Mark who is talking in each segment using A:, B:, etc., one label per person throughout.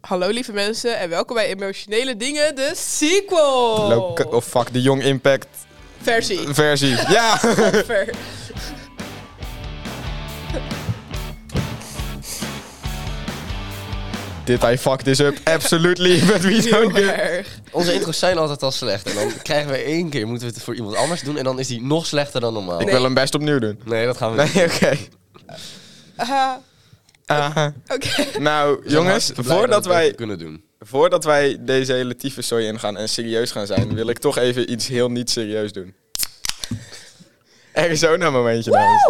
A: Hallo lieve mensen en welkom bij Emotionele Dingen, de sequel!
B: Loke- oh fuck, de Young Impact
A: Versie.
B: versie. Ja!
A: Ver-
B: Did I fuck this up? Absolutely, but we
A: Heel
B: don't give...
A: erg.
C: Onze intro's zijn altijd al slecht. En dan krijgen we één keer, moeten we het voor iemand anders doen. En dan is die nog slechter dan normaal.
B: Ik wil hem best opnieuw doen.
C: Nee, dat gaan we
B: Nee,
C: niet.
B: oké.
A: Aha,
B: Aha.
A: Oké.
B: Nou,
C: Dus We zijn
B: jongens,
C: hartstikke blij dat
B: voordat
C: we het
B: wij,
C: kunnen doen.
B: voordat wij deze hele tyfuszooi ingaan en serieus gaan zijn, wil ik toch even iets heel niet serieus doen. Arizona momentje, dames.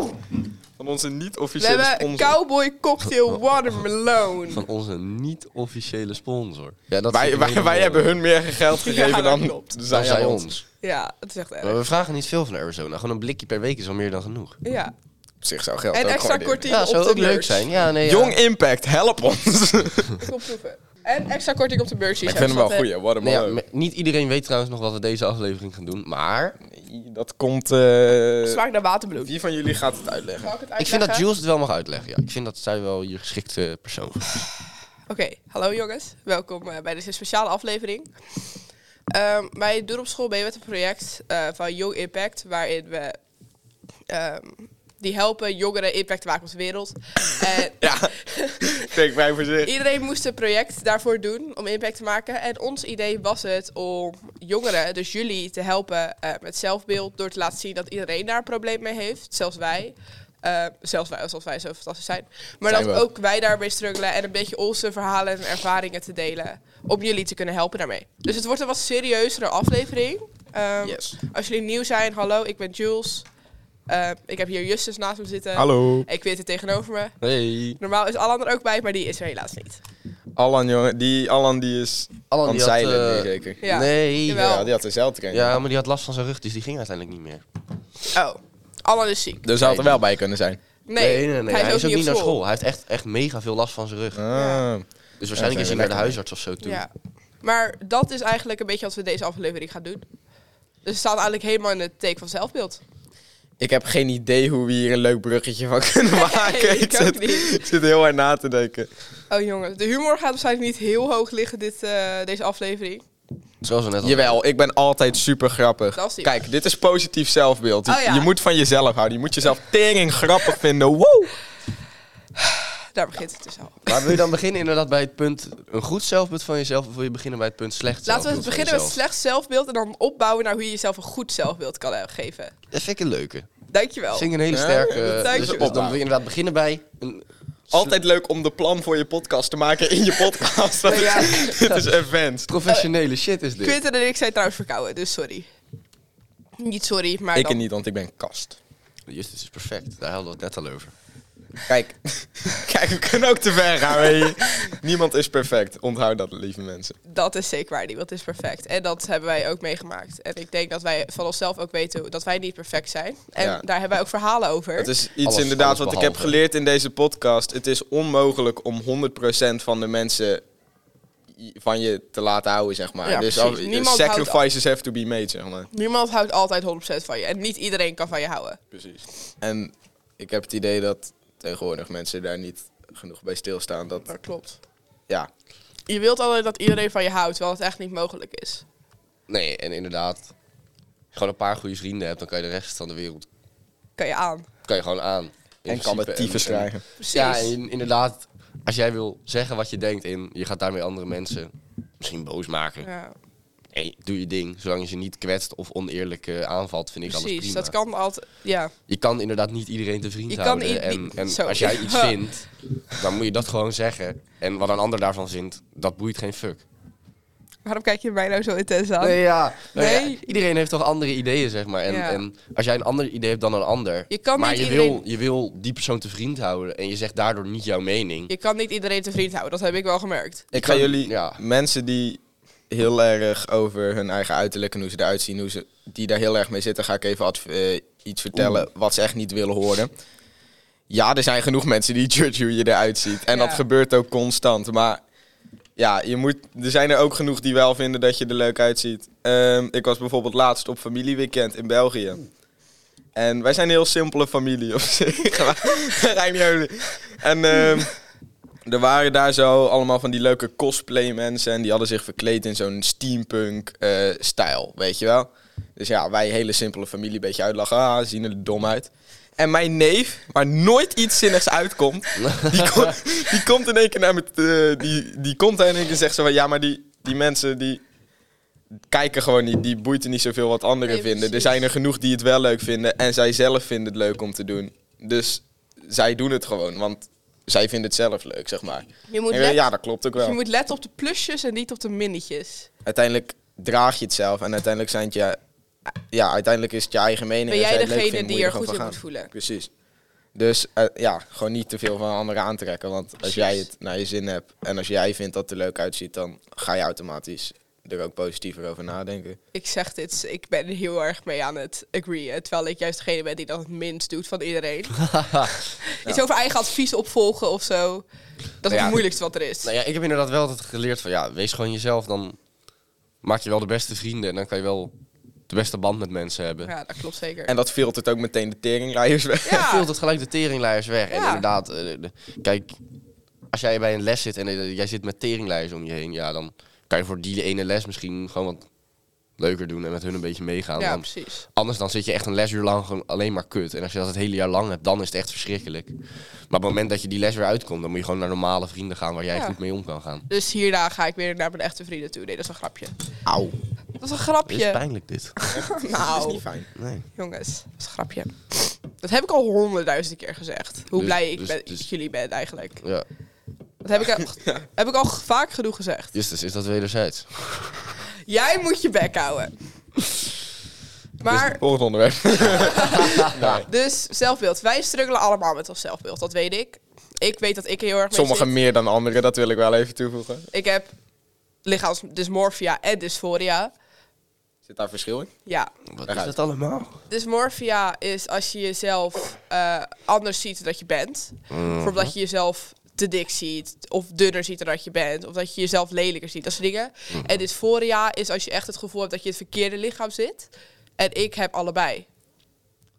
B: Van onze
A: We
B: niet-officiële
A: hebben
B: sponsor.
A: Cowboy
B: Oh.
A: Cocktail Watermelon.
C: Van onze niet-officiële sponsor. Ja, dat
B: Wij, wij, wij hebben hun meer geld gegeven
A: Ja, dat
B: dan
A: klopt.
B: zij aan ons.
A: Ja, het is echt
C: Maar
B: Oh.
A: erg.
C: we vragen niet veel van Arizona. Gewoon een blikje per week is al meer dan genoeg.
A: Ja.
B: Op zich zou geld
A: En
B: ook
A: extra
B: gewoon in-
A: korting
C: Ja,
A: op
C: zou
A: de
C: ook leuk
A: merch.
C: zijn. Ja, nee, ja.
B: Young Impact, help ons.
A: Ik wil proeven. En extra korting op de merch.
B: ik vind hem wel goed, Wat
C: Nee, ja, me- niet iedereen weet trouwens nog wat we deze aflevering gaan doen. Maar
B: Dat komt... eh,
A: Smaakt naar waterbloem.
B: Wie van jullie gaat het uitleggen?
A: Zal ik het
C: ik vind dat
A: uitleggen?
C: Jules het wel mag uitleggen. Ja, ik vind dat zij wel je geschikte persoon is.
A: Oké, hallo jongens. Welkom eh, bij deze speciale aflevering. Ehm, wij doen op school mee met een project eh, van Young Impact, waarin we ehm, die helpen jongeren impact te maken op de wereld. en
B: Ja, denk mij voor zich.
A: iedereen moest een project daarvoor doen om impact te maken. En ons idee was het om jongeren, dus jullie, te helpen eh, met zelfbeeld door te laten zien dat iedereen daar een probleem mee heeft, zelfs wij. Eh, zelfs wij, alsof wij zo fantastisch zijn. Maar
B: Zijn
A: dat
B: we ook.
A: ook wij daarmee struggelen en een beetje onze verhalen en ervaringen te delen. Om jullie te kunnen helpen daarmee. Dus het wordt een wat serieuzere aflevering. Ehm,
C: Yes.
A: Als jullie nieuw zijn, hallo, ik ben Jules. Eh, ik heb hier Justus naast me zitten.
B: Hallo.
A: Ik weet het tegenover me.
C: Hey.
A: Normaal is Alan er ook bij, maar die is er helaas niet.
B: Alan, jongen. Die Alan die is
C: Alan,
B: aan
C: die
B: het
C: had,
B: zeilen
C: eh,
B: nu zeker.
A: Ja.
C: Nee.
A: Jawel.
B: Ja, die had een zeiltrein.
C: Ja, maar die had last van zijn rug, dus die ging uiteindelijk niet meer.
A: Oh, Alan is ziek.
B: Dus hij had er wel bij kunnen zijn.
A: Nee, Hij, is ook niet, op
C: naar school. Hij heeft echt, echt mega veel last van zijn rug.
B: Ah.
C: Dus waarschijnlijk
B: Ja,
C: is hij
B: zijn
C: naar
B: we
C: de
B: lekker
C: huisarts of zo toe.
A: Ja. Maar dat is eigenlijk een beetje wat we deze aflevering gaan doen. Dus het staat eigenlijk helemaal in het teken van zelfbeeld.
B: Ik heb geen idee hoe we hier een leuk bruggetje van kunnen maken.
A: ik ook
B: zit,
A: niet.
B: ik zit heel hard na te denken.
A: Oh jongens, de humor gaat waarschijnlijk niet heel hoog liggen dit, eh, deze aflevering.
C: Zoals we net al.
B: Jawel, ik ben altijd super
A: Dat is
B: grappig.
A: die.
B: Kijk, dit is positief zelfbeeld. Je,
A: Oh ja.
B: je moet van jezelf houden. Je moet jezelf tering grappig vinden. Wow.
A: Daar begint het dus al.
C: Maar wil je dan beginnen inderdaad bij het punt een goed zelfbeeld van jezelf? Of wil je beginnen bij het punt slecht
A: Laten we
C: zelfbeeld van
A: beginnen met
C: jezelf?
A: slecht zelfbeeld en dan opbouwen naar hoe je jezelf een goed zelfbeeld kan eh, geven.
C: Dat vind ik een leuke.
A: Dankjewel.
C: Vind ik een hele
B: Ja,
C: sterke.
B: dat
C: eh,
A: lijkt
C: dus,
A: je.
C: dus dan wil je inderdaad beginnen bij een...
B: Altijd leuk om de plan voor je podcast te maken in je podcast. Dat
A: Ja.
B: is, dit is event.
C: Professionele shit is dit.
A: Quinten en ik zijn trouwens verkouden, dus sorry. Niet sorry, maar
B: Ik
A: dan...
B: niet, want ik ben kast.
C: Justus is perfect. Daar hadden we het net al over.
B: Kijk, kijk we kunnen ook te ver gaan. weet je. Niemand is perfect. Onthoud dat, lieve mensen.
A: Dat is zeker waar, niemand is perfect. En dat hebben wij ook meegemaakt. En ik denk dat wij van onszelf ook weten hoe- dat wij niet perfect zijn. En
B: Ja.
A: daar hebben wij ook verhalen over.
B: Het is iets
C: Alles-
B: inderdaad
C: alles
B: wat ik heb
C: behalve.
B: geleerd in deze podcast. Het is onmogelijk om 100% van de mensen i- van je te laten houden, zeg maar.
A: Ja,
B: dus
A: precies.
B: al-
A: Niemand
B: sacrifices have to be made, zeg maar.
A: Niemand houdt altijd 100% van je. En niet iedereen kan van je houden.
B: Precies. En ik heb het idee dat tegenwoordig mensen daar niet genoeg bij stilstaan. Dat,
A: Dat klopt.
B: ja,
A: Je wilt altijd dat iedereen van je houdt, terwijl het echt niet mogelijk is.
C: Nee, en inderdaad. als je Gewoon een paar goede vrienden hebt, dan kan je de rest van de wereld
A: Kan je aan.
C: kan je gewoon aan. In
B: en kan
C: principe.
B: het tyfus
C: En- en-
B: krijgen.
A: Precies.
C: Ja, in- inderdaad. Als jij wil zeggen wat je denkt en je gaat daarmee andere mensen misschien boos maken.
A: Ja,
C: Hey, doe je ding. Zolang je ze niet kwetst of oneerlijk eh, aanvalt, vind ik alles
A: precies.
C: prima.
A: Dat kan altijd. Ja,
C: Je kan inderdaad niet iedereen te vriend
A: Je kan
C: houden.
A: niet-
C: en
A: niet-
C: en
A: zo.
C: als jij iets vindt, dan moet je dat gewoon zeggen. En wat een ander daarvan vindt, dat boeit geen fuck.
A: waarom kijk je mij nou zo intens aan?
C: ja.
A: Nee.
C: Iedereen heeft toch andere ideeën, zeg maar. En,
A: Ja.
C: en als jij een ander idee hebt dan een ander...
A: Je kan
C: maar
A: niet
C: je,
A: iedereen-
C: wil, je wil die persoon te vriend houden en je zegt daardoor niet jouw mening.
A: Je kan niet iedereen te vriend houden, dat heb ik wel gemerkt.
B: Ik ga
C: kan-
B: jullie
C: ja.
B: mensen die heel erg over hun eigen uiterlijk en hoe ze eruit zien, hoe ze, die daar heel erg mee zitten, ga ik even adv- eh, iets vertellen wat ze echt niet willen horen. Ja, er zijn genoeg mensen die judge hoe je eruit ziet. En
A: Ja.
B: dat gebeurt ook constant. Maar ja, je moet, er zijn er ook genoeg die wel vinden dat je er leuk uitziet. Ehm, ik was bijvoorbeeld laatst op familieweekend in België. En wij zijn een heel simpele familie op zich. Maar dat ga ik niet over. En ehm, Er waren daar zo allemaal van die leuke cosplay mensen. En die hadden zich verkleed in zo'n steampunk eh, stijl, weet je wel. Dus ja, wij hele simpele familie een beetje uitlachen. Ah, ze zien er dom uit. En mijn neef, waar nooit iets zinnigs uitkomt, die, ko- die komt in één keer naar me. te- die, die komt daar in één keer en zegt zo van ja, maar die, die mensen die kijken gewoon niet. Die boeit er niet zoveel wat anderen
A: Nee,
B: vinden. Er
A: precies.
B: zijn er genoeg die het wel leuk vinden. En zij zelf vinden het leuk om te doen. Dus zij doen het gewoon. Want zij vinden het zelf leuk, zeg maar.
A: Je moet,
B: En,
A: let-
B: ja, dat klopt ook
A: Dus je
B: wel.
A: moet letten op de plusjes en niet op de minnetjes.
B: Uiteindelijk draag je het zelf. En uiteindelijk zijn het je... Ja, uiteindelijk is het je eigen mening.
A: Ben
B: en
A: jij
B: als jij het leuk
A: degene
B: vindt,
A: die
B: moet je
A: er goed
B: gewoon
A: in
B: voor
A: moet
B: gaan.
A: voelen?
B: Precies. Dus eh, ja, gewoon niet te veel van anderen aantrekken. Want als
A: Precies.
B: jij het naar je zin hebt en als jij vindt dat het er leuk uitziet, dan ga je automatisch er ook positiever over nadenken.
A: Ik zeg dit, ik ben er heel erg mee aan het agreeën. Terwijl ik juist degene ben die dat het minst doet van iedereen. Iets over eigen advies opvolgen of zo. Dat is
C: ja,
A: het moeilijkste wat er is.
C: Nou ja, ik heb inderdaad wel altijd geleerd van ja, wees gewoon jezelf. Dan maak je wel de beste vrienden en dan kan je wel de beste band met mensen hebben.
A: Ja, dat klopt zeker.
B: En dat filtert ook meteen de teringlijers weg.
A: Ja.
C: Vult het gelijk de teringlijers weg. En
A: Ja.
C: inderdaad, eh, de- de- kijk, als jij bij een les zit en eh, jij zit met teringlijers om je heen, ja, dan kan je voor die ene les misschien gewoon wat leuker doen en met hun een beetje meegaan.
A: ja,
C: Want
A: precies.
C: Anders dan zit je echt een lesuur lang gewoon alleen maar kut. En als je dat het hele jaar lang hebt, dan is het echt verschrikkelijk. Maar op het moment dat je die les weer uitkomt, dan moet je gewoon naar normale vrienden gaan waar jij
A: Ja.
C: goed mee om kan gaan.
A: Dus hierna ga ik weer naar mijn echte vrienden toe. Nee, dat is een grapje.
B: Auw.
A: Dat is een
C: Dit is
A: grapje.
C: pijnlijk dit.
B: Dat is
A: Nou,
B: niet fijn.
C: Nee.
A: jongens, dat is een grapje. Dat heb ik al honderdduizend keer gezegd. Hoe
C: Dus-
A: blij ik
C: dus-
A: ben,
C: dus-
A: ik jullie ben eigenlijk.
C: Ja,
A: Dat heb ik, al, heb ik al vaak genoeg gezegd.
C: Justus, is dat wederzijds?
A: Jij moet je bek houden.
C: Dus
A: Maar,
B: Volgend onderwerp.
A: dus zelfbeeld. Wij struggelen allemaal met ons zelfbeeld, dat weet ik. Ik weet dat ik er heel erg mee
B: Sommigen
A: zit.
B: meer dan anderen, dat wil ik wel even toevoegen.
A: Ik heb lichaamsdysmorphia en dysphoria.
B: Zit daar verschil in?
A: Ja,
C: Wat
B: Daaruit.
C: dat allemaal?
A: dysmorphia is als je jezelf eh, anders ziet dan dat je bent. Bijvoorbeeld dat je jezelf te dik ziet, of dunner ziet dan dat je bent, of dat je jezelf lelijker ziet, dat soort dingen.
B: Mhm.
A: En dysphoria is als je echt het gevoel hebt dat je in het verkeerde lichaam zit. En ik heb allebei.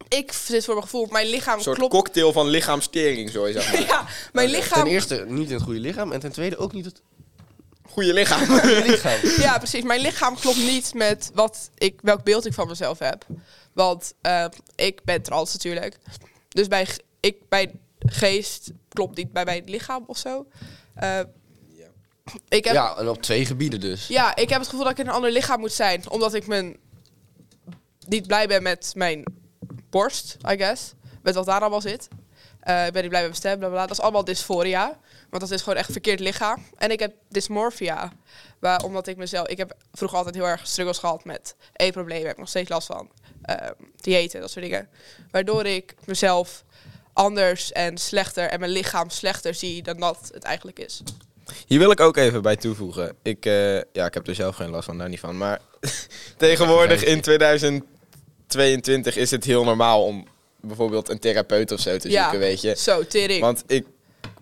A: Ik zit voor mijn gevoel, mijn lichaam
B: Een soort
A: klopt.
B: cocktail van lichaamstering, zo je zeggen.
A: ja, mijn
C: Ten
A: lichaam.
C: eerste niet in het goede lichaam en ten tweede ook niet het
B: Goeie lichaam.
C: goede lichaam.
A: Ja, precies. Mijn lichaam klopt niet met wat ik, welk beeld ik van mezelf heb. Want eh, ik ben trans natuurlijk. Dus bij, g- ik, mijn geest klopt niet bij mijn lichaam of zo. Eh, ik heb, ja.
C: Ja, en op twee gebieden dus.
A: ik heb het gevoel dat ik in een ander lichaam moet zijn. Omdat ik mijn, niet blij ben met mijn borst, I guess. Met wat daar allemaal zit. Eh, ik ben niet blij met mijn stem, bla bla. bla. Dat is allemaal dysphoria. Want dat is gewoon echt verkeerd lichaam. En ik heb dysmorphia. Waar, omdat ik mezelf. Ik heb vroeger altijd heel erg struggles gehad met eetproblemen. Heb ik nog steeds last van. Ehm diëten, dat soort dingen. Waardoor ik mezelf anders en slechter. En mijn lichaam slechter zie dan dat het eigenlijk is.
B: Hier wil ik ook even bij toevoegen. Ik, eh, ja, ik heb er zelf geen last van, daar niet van. Maar tegenwoordig in 2022 is het heel normaal om bijvoorbeeld een therapeut of zo te
A: Ja.
B: zoeken, Dus weet je.
A: Zo, tering.
B: Want ik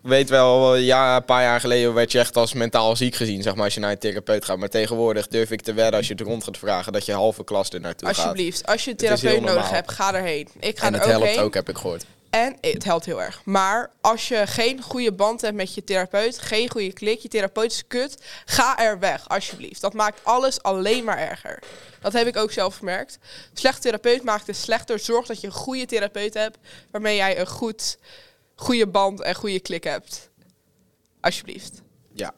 B: weet wel, ja, een paar jaar geleden werd je echt als mentaal ziek gezien, zeg maar, als je naar een therapeut gaat. Maar tegenwoordig durf ik te wedden, als je het rond gaat vragen, dat je halve klas er naartoe gaat.
A: Alsjeblieft, als je een
B: is heel
A: therapeut nodig
B: normaal.
A: hebt, ga erheen. Ik ga
B: En
A: er
B: het
A: ook
B: helpt
A: heen.
B: ook, heb ik gehoord.
A: En het helpt heel erg. Maar als je geen goede band hebt met je therapeut, geen goede klik, je therapeut is kut, ga er weg, alsjeblieft. Dat maakt alles alleen maar erger. Dat heb ik ook zelf gemerkt. Slecht therapeut maakt het slechter. Zorg dat je een goede therapeut hebt, waarmee jij een goed, goede band en goede klik hebt. Alsjeblieft.
B: Ja.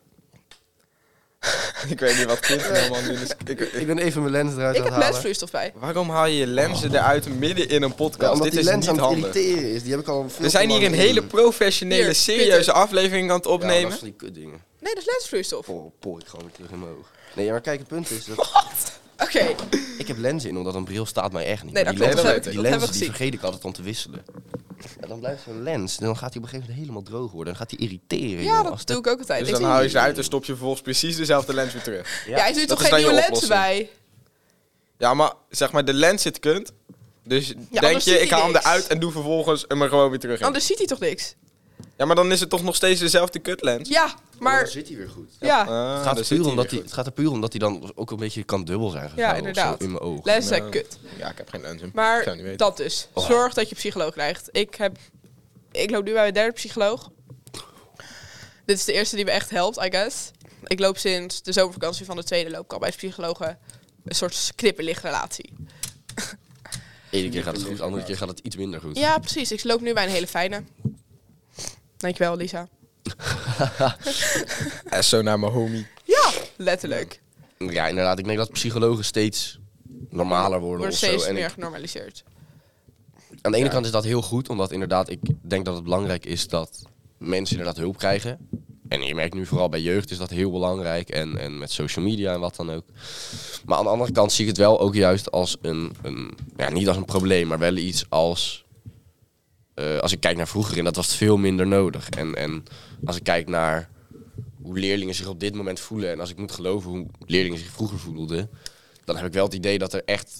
B: ik weet niet wat kinderen allemaal doen. dus ik- ik-
C: Ik ben even mijn lens
A: Ik
C: eruit aan het
A: heb
C: halen.
A: lesvloeistof bij.
B: Waarom haal je je lenzen eruit midden in een
C: Ja,
B: podcast?
C: omdat
B: Dit
C: die
B: is
C: lens
B: niet
C: aan het
B: handig.
C: irriteren is. Die heb ik al veel
B: We zijn hier een hele professionele,
A: Hier,
B: serieuze
A: Pieter.
B: aflevering aan het
C: opnemen. Ja,
B: opnemen.
C: dat is die kutdingen.
A: Nee, dat is lesvloeistof.
B: Oh.
C: Pol, pol ik gewoon weer terug in mijn oog. Nee, ja, maar kijk, het punt is dat
A: Wat? Oké.
C: ik heb lenzen in, omdat een bril staat mij echt niet.
A: Nee,
C: Maar
A: dat
C: die
A: klopt,
B: dat
C: lenzen,
B: heb ik-
C: die
A: dat hebben
C: lenzen
A: we
C: die
A: gezien.
C: vergeet ik altijd om te wisselen. Ja, dan blijft zo'n lens, en dan gaat hij op een gegeven moment helemaal droog worden. Dan gaat hij irriteren.
A: Ja,
C: joh,
A: dat
C: als
A: doe ik ook altijd.
B: Dus
A: Ik
B: dan
A: zie-
B: hou je ze uit en stop je vervolgens precies dezelfde lens weer terug.
A: ja, hij doet
B: dat
A: toch
B: is
A: geen
B: dan je
A: nieuwe lenzen
B: oplossing.
A: bij?
B: Ja, maar zeg maar, de lens zit kunt. Dus denk
A: anders ziet
B: je,
A: hij
B: ik haal hem
A: niks.
B: eruit en doe vervolgens hem er gewoon weer terug in.
A: Anders ziet hij toch niks?
B: Ja, maar dan is het toch nog steeds dezelfde kutlens?
A: Ja, maar...
C: Dan zit hij weer goed.
A: Ja.
B: Ah,
C: Het
B: dan
C: gaat,
B: zit
C: puur
B: hij
C: omdat
B: weer
C: die, het gaat er puur omdat hij dan ook een beetje kan dubbel zijn gegaan.
A: Ja,
C: of Nou, zo
A: inderdaad.
C: in mijn ogen.
A: Les zijn
B: Ja.
A: kut.
B: goed. Ja, ik heb geen lenzen. ik zou
A: Maar
B: niet weten.
A: dat dus.
C: Oh.
A: Zorg dat je psycholoog krijgt. Ik, heb, ik loop nu bij mijn derde psycholoog. Dit is de eerste die me echt helpt, I guess. Ik loop sinds de zomervakantie van de tweede loop ik al bij psychologen een soort knipperlichtrelatie.
C: Ene keer gaat het goed, andere keer gaat het iets minder goed.
A: Ja, precies. Ik loop nu bij een hele fijne. Dankjewel, Lisa.
B: Eh, Zo naar mijn homie.
A: Ja, letterlijk.
C: Ja, inderdaad. Ik denk dat psychologen steeds normaler worden
A: Wordt
C: of zo.
A: steeds
C: En ik-
A: meer genormaliseerd.
C: aan de ene kant is dat heel goed, omdat inderdaad, ik denk dat het belangrijk is dat mensen inderdaad hulp krijgen. En je merkt nu vooral bij jeugd is dat heel belangrijk. En, en met social media en wat dan ook. Maar aan de andere kant zie ik het wel ook juist als een, een ja, niet als een probleem, maar wel iets als. eh, als ik kijk naar vroeger, en dat was veel minder nodig. En, en als ik kijk naar hoe leerlingen zich op dit moment voelen. En als ik moet geloven hoe leerlingen zich vroeger voelden. Dan heb ik wel het idee dat er echt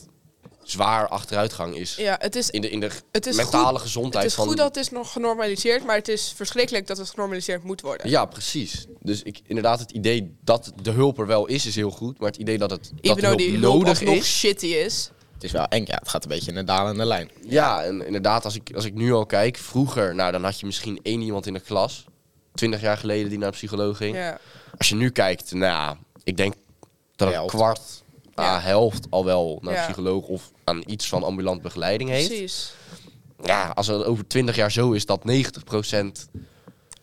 C: zwaar achteruitgang is
A: Ja, het is
C: in de, in de
A: Het is
C: mentale
A: goed-
C: gezondheid
A: Het is
C: van...
A: goed dat het is nog genormaliseerd, maar het is verschrikkelijk dat het genormaliseerd moet worden.
C: Ja, precies. Dus ik, inderdaad, het idee dat de hulp er wel is, is heel goed. Maar het idee dat het dat
A: Even though
C: hulp
A: die hulp
C: nodig
A: alsnog
C: is...
A: shitty is.
B: Het is wel eng, ja. Het gaat een beetje in een dalende lijn.
C: Ja, en inderdaad, als ik, als ik nu al kijk... Vroeger, nou, dan had je misschien één iemand in de klas... Twintig jaar geleden die naar een psycholoog ging.
A: Ja.
C: Als je nu kijkt, nou, ja, ik denk dat een
B: Helft.
C: kwart...
A: Ja.
C: ah, helft al wel naar een
A: Ja.
C: psycholoog of aan iets van ambulant begeleiding heeft.
A: Precies.
C: Ja, als het over 20 jaar zo is dat 90%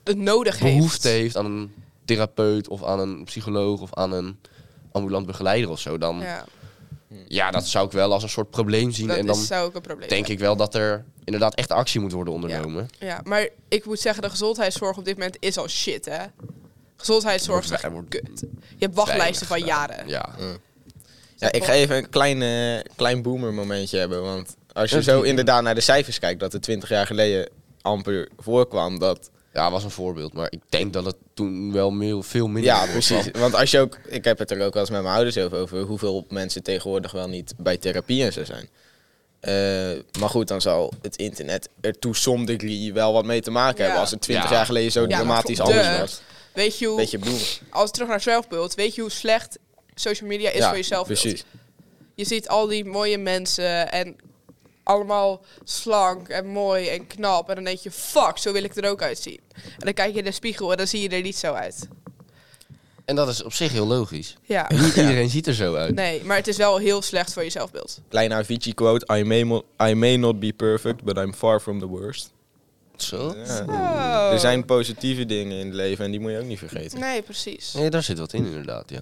A: Het nodig
C: behoefte
A: heeft.
C: heeft aan een therapeut of aan een psycholoog of aan een ambulant begeleider of zo, dan ja.
A: Ja,
C: dat zou ik wel als een soort probleem zien.
A: dat
C: en dan
A: is, zou ook een probleem
C: denk ik wel dat er inderdaad echt actie moet worden ondernomen.
A: zijn. Ja, maar ik moet zeggen, de gezondheidszorg op dit moment is al shit, hè. Gezondheidszorg is
C: Wordt-
A: echt
C: Dus wordt
A: kut. Je hebt wachtlijsten van
C: Weinig
A: jaren.
C: gedaan. Ja.
B: Ja, ik ga even een klein, eh, klein boomer momentje hebben. Want als je
C: Ja,
B: zo
C: tuurlijk.
B: inderdaad naar de cijfers kijkt, dat er 20 jaar geleden amper voorkwam, dat...
C: ja, was een voorbeeld. Maar ik denk dat het toen wel meer- veel minder
B: Ja,
C: voorkwam.
B: precies. Want als je ook... Ik heb het er ook wel eens met mijn ouders over, over hoeveel mensen tegenwoordig wel niet bij therapie en zo zijn. Eh, maar goed, dan zal het internet er to some degree wel wat mee te maken
A: Ja.
B: hebben. Als het 20
C: Ja.
B: jaar geleden zo
A: Ja,
B: dramatisch
A: maar voor-
B: anders
A: Duh.
B: was.
A: Weet je hoe,
B: Beetje boomer.
A: als we terug naar zelfbeeld, weet je hoe slecht social media is voor jezelf?
B: Precies.
A: je ziet al die mooie mensen en allemaal slank en mooi en knap. En dan denk je, fuck, zo wil ik er ook uitzien. En dan kijk je in de spiegel en dan zie je er niet zo uit.
C: En dat is op zich heel logisch.
A: Ja.
C: Niet iedereen ziet er zo uit.
A: Nee, maar het is wel heel slecht voor je zelfbeeld.
B: Kleine Avicii quote. I may, mo- I may not be perfect, but I'm far from the worst.
C: Zo?
B: Er zijn positieve dingen in het leven en die moet je ook niet vergeten.
A: Nee, precies.
C: Nee, daar zit wat in inderdaad, ja.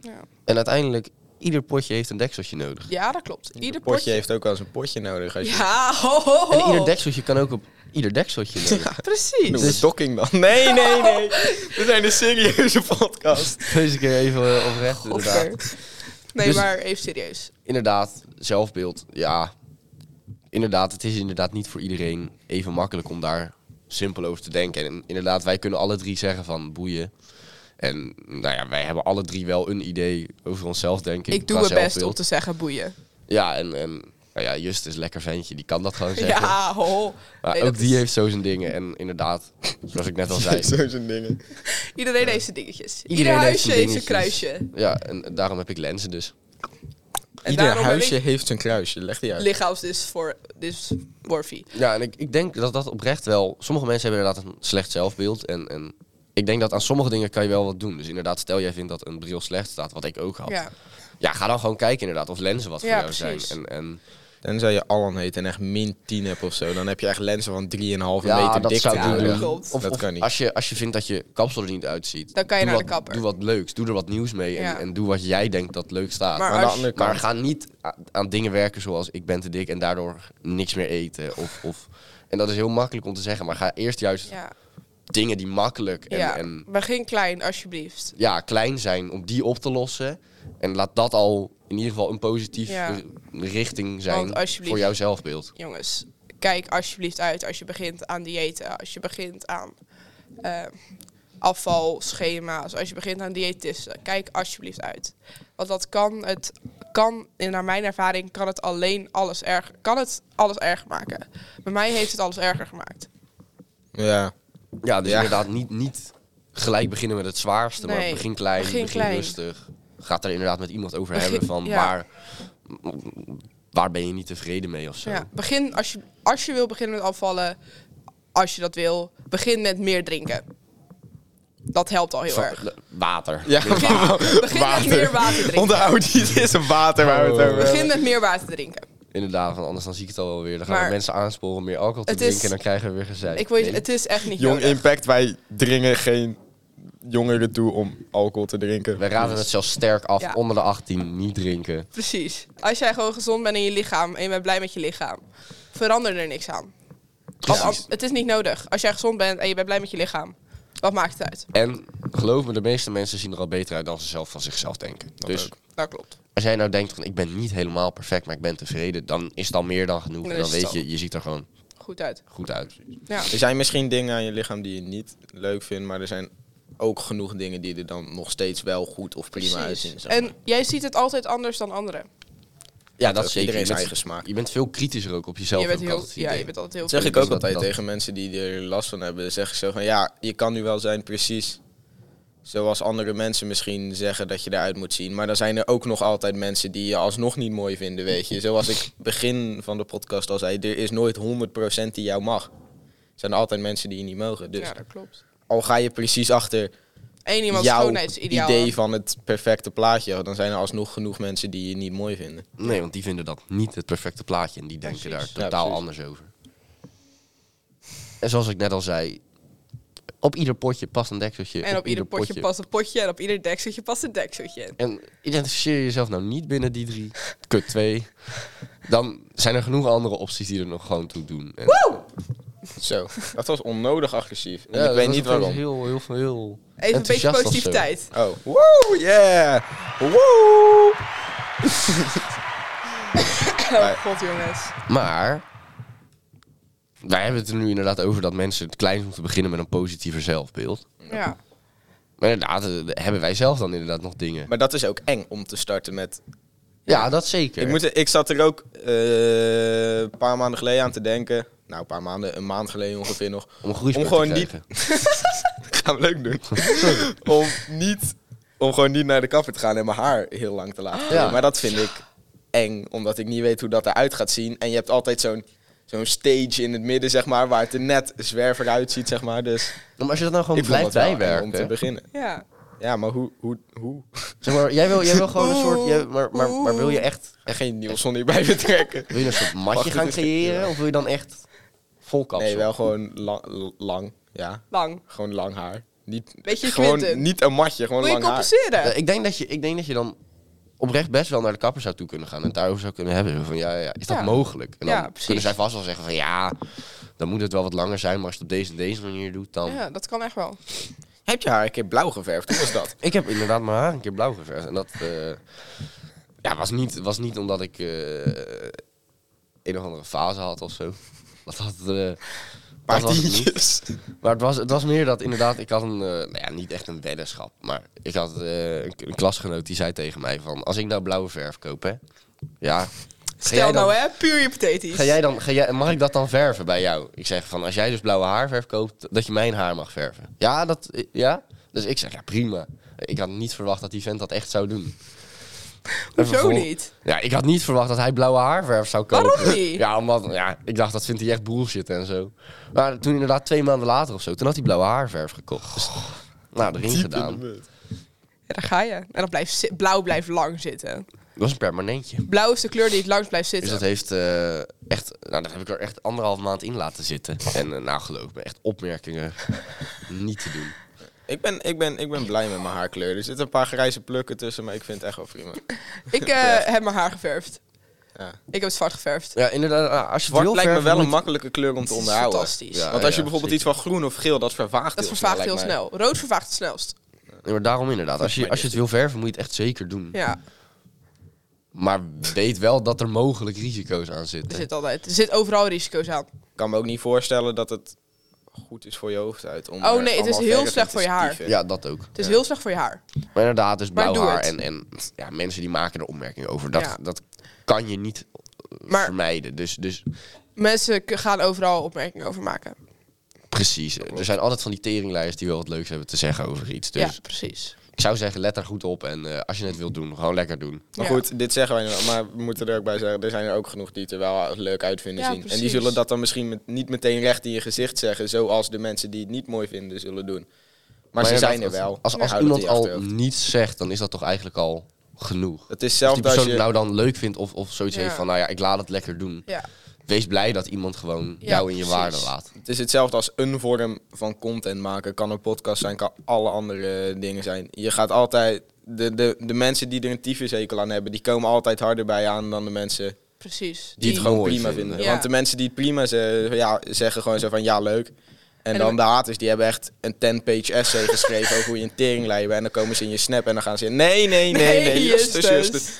A: Ja,
C: En uiteindelijk, ieder potje heeft een dekseltje nodig.
A: ja dat klopt. Ieder
B: Een potje, heeft ook wel eens een potje nodig. Als je
A: Ja, ho, ho, ho.
C: En ieder dekseltje kan ook op ieder dekseltje liggen.
A: Precies.
B: Noem het docking dan. Nee, nee, nee. We zijn een serieuze podcast.
C: Deze keer even eh, oprecht,
A: Godver.
C: inderdaad.
A: Nee,
C: Dus-
A: maar even serieus.
C: Inderdaad, zelfbeeld, ja. Inderdaad, het is inderdaad niet voor iedereen even makkelijk om daar simpel over te denken. En inderdaad, wij kunnen alle drie zeggen van boeien. En nou ja, wij hebben alle drie wel een idee over onszelf, denk ik.
A: Ik doe
C: qua
A: mijn best om
C: zelfbeeld.
A: te zeggen boeien.
C: Ja, en, en nou ja, Just is een lekker ventje, die kan dat gewoon zeggen.
A: Ja, ho, ho.
C: Maar
A: Nee,
C: ook
A: dat
C: die
A: is-
C: heeft zo zijn dingen. En inderdaad, zoals ik net al zei,
B: Zo zijn dingen.
A: Iedereen heeft zijn dingetjes.
C: Iedereen
A: Ieder
C: heeft
A: huisje
C: zijn
A: heeft zijn
C: dingetjes.
A: kruisje. En
C: ja, en daarom heb ik lenzen dus.
B: Ieder
A: daarom heb
B: huisje
A: ik-
B: heeft zijn kruisje. Leg die uit.
A: lichaamsdysmorfie.
C: Ja, en ik, ik denk dat dat oprecht wel... Sommige mensen hebben inderdaad een slecht zelfbeeld. En, en ik denk dat aan sommige dingen kan je wel wat doen. Dus inderdaad, stel jij vindt dat een bril slecht staat, wat ik ook had. Ja,
A: Ja,
C: ga dan gewoon kijken inderdaad of lenzen wat voor
A: Ja,
C: jou
A: precies.
C: zijn. En, en
B: Tenzij je Alan heet en echt min 10 hebt of zo. Dan heb je echt lenzen van 3,5
C: ja,
B: meter
C: dat
B: dik.
C: zou ik
A: ja,
C: niet
A: dat
B: tegenwoordig.
C: doen.
A: klopt.
C: Of,
B: Dat
C: of
B: kan niet.
C: Als, je, als je vindt dat je kapsel er niet uitziet,
A: Dan kan je
C: doe
A: naar de
C: wat-
A: kapper.
C: Doe wat leuks, doe er wat nieuws mee en,
A: Ja.
C: en doe wat jij denkt dat leuk staat.
A: Maar
B: Maar aan de
A: als-
B: andere
C: Maar
B: kant.
C: ga niet a- aan dingen werken zoals ik ben te dik en daardoor niks meer eten. Of, of, en dat is heel makkelijk om te zeggen, maar ga eerst juist
A: ja.
C: dingen die makkelijk en,
A: ja.
C: en
A: Begin klein, alsjeblieft.
C: ja, klein zijn, om die op te lossen. En laat dat al in ieder geval een positieve
A: Ja.
C: richting zijn
A: Want alsjeblieft.
C: voor jouw zelfbeeld.
A: Jongens, kijk alsjeblieft uit als je begint aan diëten. Als je begint aan eh, afvalschema's. Als je begint aan diëtisten. Kijk alsjeblieft uit. Want dat kan het... Kan, en naar mijn ervaring, kan het alleen alles erger, kan het alles erger maken. Bij mij heeft het alles erger gemaakt.
B: Ja.
C: Ja, dus
B: Ja.
C: inderdaad niet, niet gelijk beginnen met het zwaarste, maar
A: Nee,
C: begin klein,
A: begin
C: begin,
A: klein.
C: rustig. Ga het er inderdaad met iemand over
A: Begin-
C: hebben van
A: ja.
C: waar, waar ben je niet tevreden mee of zo.
A: Ja, begin als je, als je wil beginnen met afvallen, als je dat wil, begin met meer drinken. Dat helpt al heel
C: Va-
A: erg.
C: le- water.
B: Ja,
A: Begin met meer water drinken.
B: Onthoud, dit is een water waar we het over
A: Begin
B: hebben.
A: met meer water drinken.
C: Inderdaad, want anders dan zie ik het al wel weer. Dan gaan
A: Maar-
C: we mensen aansporen om meer alcohol te
A: Het is-
C: drinken en dan krijgen we weer gezeik.
A: Ik wil je,
C: Nee.
A: het is echt niet
B: Jong
A: nodig.
B: Impact, wij dringen geen jongeren toe om alcohol te drinken.
C: Wij raden het zelfs sterk af,
A: Ja.
C: onder de 18 niet drinken.
A: Precies. Als jij gewoon gezond bent in je lichaam en je bent blij met je lichaam, verander er niks aan. Als- als- het is niet nodig. Als jij gezond bent en je bent blij met je lichaam, wat maakt het uit?
C: En geloof me, de meeste mensen zien er al beter uit dan ze zelf van zichzelf denken. dus
B: ook.
A: Dat klopt.
C: als jij nou denkt van ik ben niet helemaal perfect, maar ik ben tevreden, dan is het al meer dan genoeg.
A: Dan
C: En
A: is
C: dan
A: het
C: weet
A: zo.
C: je, je ziet er gewoon
A: Goed uit.
C: goed uit.
A: Ja.
B: Er zijn misschien dingen aan je lichaam die je niet leuk vindt, maar er zijn ook genoeg dingen die er dan nog steeds wel goed of prima uitzien. zeg maar.
A: En jij ziet het altijd anders dan anderen.
C: Ja, dat
B: ook.
C: zeker.
B: Iedereen
C: Je
B: zijn
C: bent-
B: eigen smaak.
C: Je bent veel kritischer ook op jezelf.
A: Je bent,
C: heb ik
A: heel,
C: altijd het
A: ja,
C: idee.
A: je bent altijd heel
B: dat zeg ik
C: dat-
B: ook altijd
C: dat-
B: tegen mensen die er last van hebben. Dan zeg ik zo van ja, je kan nu wel zijn precies zoals andere mensen misschien zeggen dat je eruit moet zien. Maar dan zijn er ook nog altijd mensen die je alsnog niet mooi vinden, weet je. Zoals ik begin van de podcast al zei, er is nooit 100% die jou mag. Er zijn altijd mensen die je niet mogen. Dus
A: Ja, dat klopt.
B: al ga je precies achter
A: Eén iemands
B: jouw
A: schoonheidsideaal.
B: idee van het perfecte plaatje, dan zijn er alsnog genoeg mensen die je niet mooi vinden.
C: Nee, want die vinden dat niet het perfecte plaatje. En die denken
A: Precies.
C: daar
B: Ja,
C: totaal
B: precies.
C: anders over. En zoals ik net al zei, op ieder potje past een dekseltje.
A: En op ieder potje, past een potje en op ieder dekseltje past een dekseltje.
C: En identificeer je jezelf nou niet binnen die drie, kut twee. Dan zijn er genoeg andere opties die er nog gewoon toe doen. En-
B: Zo, dat was onnodig agressief. En
C: Ja,
B: ik
C: dat
B: weet
C: was
B: niet
C: opeens
B: waarom.
C: Heel, heel, heel, heel
A: Even een beetje
C: enthousiast of zo.
A: positiviteit.
B: Oh, wow, yeah! Wow!
A: Oh god jongens.
C: Maar wij hebben het er nu inderdaad over dat mensen het kleins moeten beginnen met een positiever zelfbeeld.
A: Ja.
C: Maar inderdaad, eh, hebben wij zelf dan inderdaad nog dingen.
B: Maar dat is ook eng om te starten met.
C: Ja, dat zeker.
B: Ik, moet, ik zat er ook eh, een paar maanden geleden aan te denken. Nou, een paar maanden, een maand geleden ongeveer nog.
C: om een groeispurt
B: om gewoon
C: te
B: niet-
C: krijgen.
B: Gaan we leuk doen. om, niet, om gewoon niet naar de kapper te gaan en mijn haar heel lang te laten groeien.
C: Ja.
B: Maar dat vind ik eng, omdat ik niet weet hoe dat eruit gaat zien. En je hebt altijd zo'n zo'n stage in het midden, zeg maar, waar het er net zwerver uitziet, zeg maar. Dus
C: Maar als je dat nou gewoon
B: ik vond
C: blijft
B: dat wel eng
C: bijwerken.
B: om te beginnen.
A: Ja.
B: Ja, maar hoe... hoe, hoe?
C: Zeg maar, jij wil, jij wil gewoon een soort... jij- maar, maar, maar wil je echt
B: En geen Nielsen hierbij betrekken.
C: wil je een soort matje
B: Wacht,
C: gaan
B: dit is-
C: creëren? Of wil je dan echt vol kapsel?
B: Nee, wel gewoon lang, lang, ja.
A: Lang.
B: Gewoon lang haar. Niet,
A: Beetje
B: gewoon
A: Quinten.
B: niet een matje, gewoon
A: Wil je
B: lang haar.
A: compenseren?
C: Eh, ik, denk dat je, ik denk dat je dan oprecht best wel naar de kapper zou toe kunnen gaan. En het daarover zou kunnen hebben. Zo Van, ja, ja, ja, is dat
A: Ja.
C: mogelijk? En dan
A: Ja, precies.
C: kunnen zij vast wel zeggen van ja, dan moet het wel wat langer zijn. Maar als je het op deze en deze manier doet, dan...
A: Ja, dat kan echt wel.
B: Heb je haar een keer blauw geverfd? Hoe was dat?
C: Ik heb inderdaad mijn haar een keer blauw geverfd. En dat eh, ja, was, niet, was niet omdat ik eh, een of andere fase had of zo. Dat had, eh,
B: Paar
C: dat was het niet.
B: tientjes.
C: Maar het was, het was meer dat inderdaad, ik had een, eh, nou ja, niet echt een weddenschap, maar ik had eh, een, een klasgenoot die zei tegen mij van, als ik nou blauwe verf koop, hè, ja, ga jij
A: Stel nou
C: dan,
A: hè, puur hypothetisch.
C: ga jij dan, ga jij, mag ik dat dan verven bij jou? Ik zeg van, als jij dus blauwe haarverf koopt, dat je mijn haar mag verven. Ja, dat, ja? Dus ik zeg, ja prima. Ik had niet verwacht dat die vent dat echt zou doen. En
A: Hoezo
C: vervol-
A: niet?
C: Ja, ik had niet verwacht dat hij blauwe haarverf zou kopen.
A: Waarom niet?
C: Ja, omdat ja, ik dacht dat vindt hij echt bullshit en zo. Maar toen inderdaad twee maanden later of zo, toen had hij blauwe haarverf gekocht. Dus, nou, erin
B: Diep in de
C: gedaan. Dat
B: mut.
A: Ja, daar ga je. En dat blijft zi- blauw blijft lang zitten.
C: was een permanentje.
A: Blauw is de kleur die het langst blijft
C: Dus
A: zitten.
C: dat heeft eh, echt, nou, dat heb ik er echt anderhalf maand in laten zitten. En eh, nou, geloof me, echt opmerkingen niet te doen.
B: Ik ben, ik, ben, ik ben blij met mijn haarkleur. Er zitten een paar grijze plukken tussen, maar ik vind het echt wel prima.
A: Ik eh, heb mijn haar geverfd.
B: Ja.
A: Ik heb het zwart geverfd.
C: Ja, inderdaad, nou, als je het
B: Zwart
C: wil
B: lijkt me
C: verven,
B: wel een
C: moet-
B: makkelijke kleur om te
A: Het is
B: onderhouden.
A: fantastisch.
C: Ja.
B: Want als je bijvoorbeeld
C: zeker.
B: iets van groen of geel, dat vervaagt
A: Dat
B: heel
A: vervaagt heel
B: lijkt mij.
A: snel. Rood vervaagt het snelst.
C: Ja, maar daarom inderdaad, als je,
B: Maar
C: als je het wil verven, moet je het echt zeker doen.
A: Ja,
C: Maar weet wel dat er mogelijk risico's aan
A: er
C: zitten.
A: zit altijd. Er zit overal risico's aan.
B: Ik kan me ook niet voorstellen dat het goed is voor je hoofd uit. Om
A: Oh,
B: er
A: nee, het is
B: allemaal
A: heel
B: verf in
A: slecht
B: te
A: voor je haar.
B: stieven.
C: Ja, dat ook.
A: Het is heel slecht voor je haar.
C: Maar inderdaad, dus
A: Maar
C: blauw
A: doe
C: haar
A: het.
C: en, en ja, mensen die maken er opmerkingen over. Dat,
A: Ja.
C: dat kan je niet eh,
A: Maar-
C: vermijden. Dus, dus
A: Mensen k- gaan overal opmerkingen over maken.
C: precies. Er zijn altijd van die teringlijers die wel wat leuks hebben te zeggen over iets. Dus
A: Ja, precies.
C: ik zou zeggen, let daar goed op. En eh, als je het wilt doen, gewoon lekker doen.
B: Maar
A: Ja.
B: goed, dit zeggen wij nu, wel, maar we moeten er ook bij zeggen, er zijn er ook genoeg die het er wel leuk uit vinden
A: Ja,
B: zien. En die
A: precies.
B: zullen dat dan misschien met, niet meteen recht in je gezicht zeggen, zoals de mensen die het niet mooi vinden zullen doen. Maar, ze
C: inderdaad,
B: zijn er
C: als-
B: wel.
C: Als,
B: Hou
C: als
B: dat
C: iemand
B: in je
C: al
B: achterhoofd.
C: niets zegt, dan is dat toch eigenlijk al genoeg.
B: Het is
C: Als die
B: zelfs als
C: persoon
B: je...
C: het nou dan leuk vindt of, of zoiets
A: Ja.
C: heeft van, nou ja, ik laat het lekker doen.
A: Ja.
C: Wees blij dat iemand gewoon
A: Ja,
C: jou in je
A: precies.
C: waarde laat.
B: Het is hetzelfde als een vorm van content maken. Kan een podcast zijn, kan alle andere dingen zijn. Je gaat altijd... De, de, de mensen die er een tyfushekel aan hebben, die komen altijd harder bij je aan dan de mensen
A: Precies.
B: die het
C: Die
B: gewoon
C: mooi
B: prima
C: vinden.
B: vinden.
A: Ja.
B: Want de mensen die het prima ze, ja, zeggen gewoon zo van ja, leuk. En,
A: En
B: dan
A: dan-
B: de haters, die hebben echt een 10-page essay geschreven over hoe je een teringlijn bent. En dan komen ze in je snap en dan gaan ze in, nee, nee, nee, nee, justus, justus.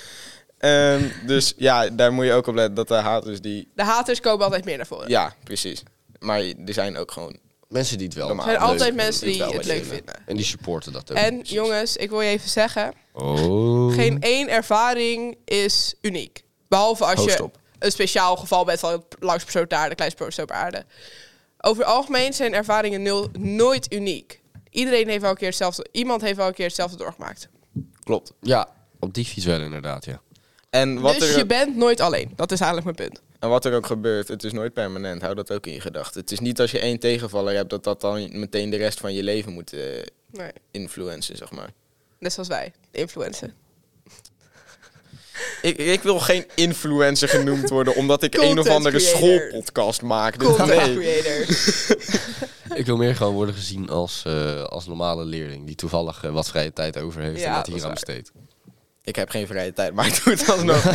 B: Ehm, dus ja, daar moet je ook op letten dat de haters die...
A: De haters komen altijd meer naar voren.
B: Ja, precies. Maar er zijn ook gewoon...
C: Mensen die het wel
B: Normaal.
A: Er zijn
C: leuk
A: altijd
C: vinden,
A: mensen die
C: wel
A: het
C: leuk
A: leuk vinden.
C: En die supporten dat ook.
A: En
C: Precies.
A: jongens, ik wil je even zeggen,
C: Oh.
A: geen e- één ervaring is uniek. Behalve als
B: Hoofd
A: je
B: op.
A: een speciaal geval bent van het langste persoon ter aarde, het kleinste persoon ter aarde. Over het algemeen zijn ervaringen nul, nooit uniek. Iedereen heeft wel een keer hetzelfde, iemand heeft wel een keer hetzelfde doorgemaakt.
B: Klopt.
C: Ja, op die fiets wel inderdaad, ja.
B: En wat,
A: dus
B: er,
A: je bent nooit alleen. Dat is eigenlijk mijn punt.
B: en wat er ook gebeurt, het is nooit permanent. Hou dat ook in je gedachten. Het is niet als je één tegenvaller hebt, dat dat dan meteen de rest van je leven moet eh
A: Nee.
B: influencen, zeg maar.
A: Net zoals wij, de influencer.
B: Ik, ik wil geen influencer genoemd worden omdat ik een of
A: Content
B: andere
A: creator.
B: schoolpodcast maak. Dus
A: Content
B: nee.
A: creator.
C: Ik wil meer gewoon worden gezien als, eh, als normale leerling die toevallig eh, wat vrije tijd over heeft
A: Ja,
C: en dat
A: dat
C: hier aan
A: is
C: besteedt.
B: Ik heb geen vrije tijd, maar ik doe het alsnog.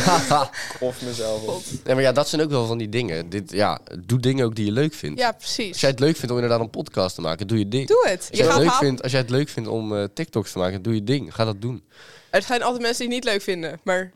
B: of mezelf. op.
C: Nee, maar ja, dat zijn ook wel van die dingen. Dit, ja, doe dingen ook die je leuk vindt.
A: Ja,
C: Als
A: precies.
C: jij het leuk vindt om inderdaad een podcast te maken, doe je ding.
A: Doe het.
C: Als
A: Je
C: jij, het
A: gaat
C: leuk
A: haal-
C: vindt, als jij het leuk vindt om eh, TikToks te maken, doe je ding. Ga dat doen.
A: Er zijn altijd mensen die het niet leuk vinden, maar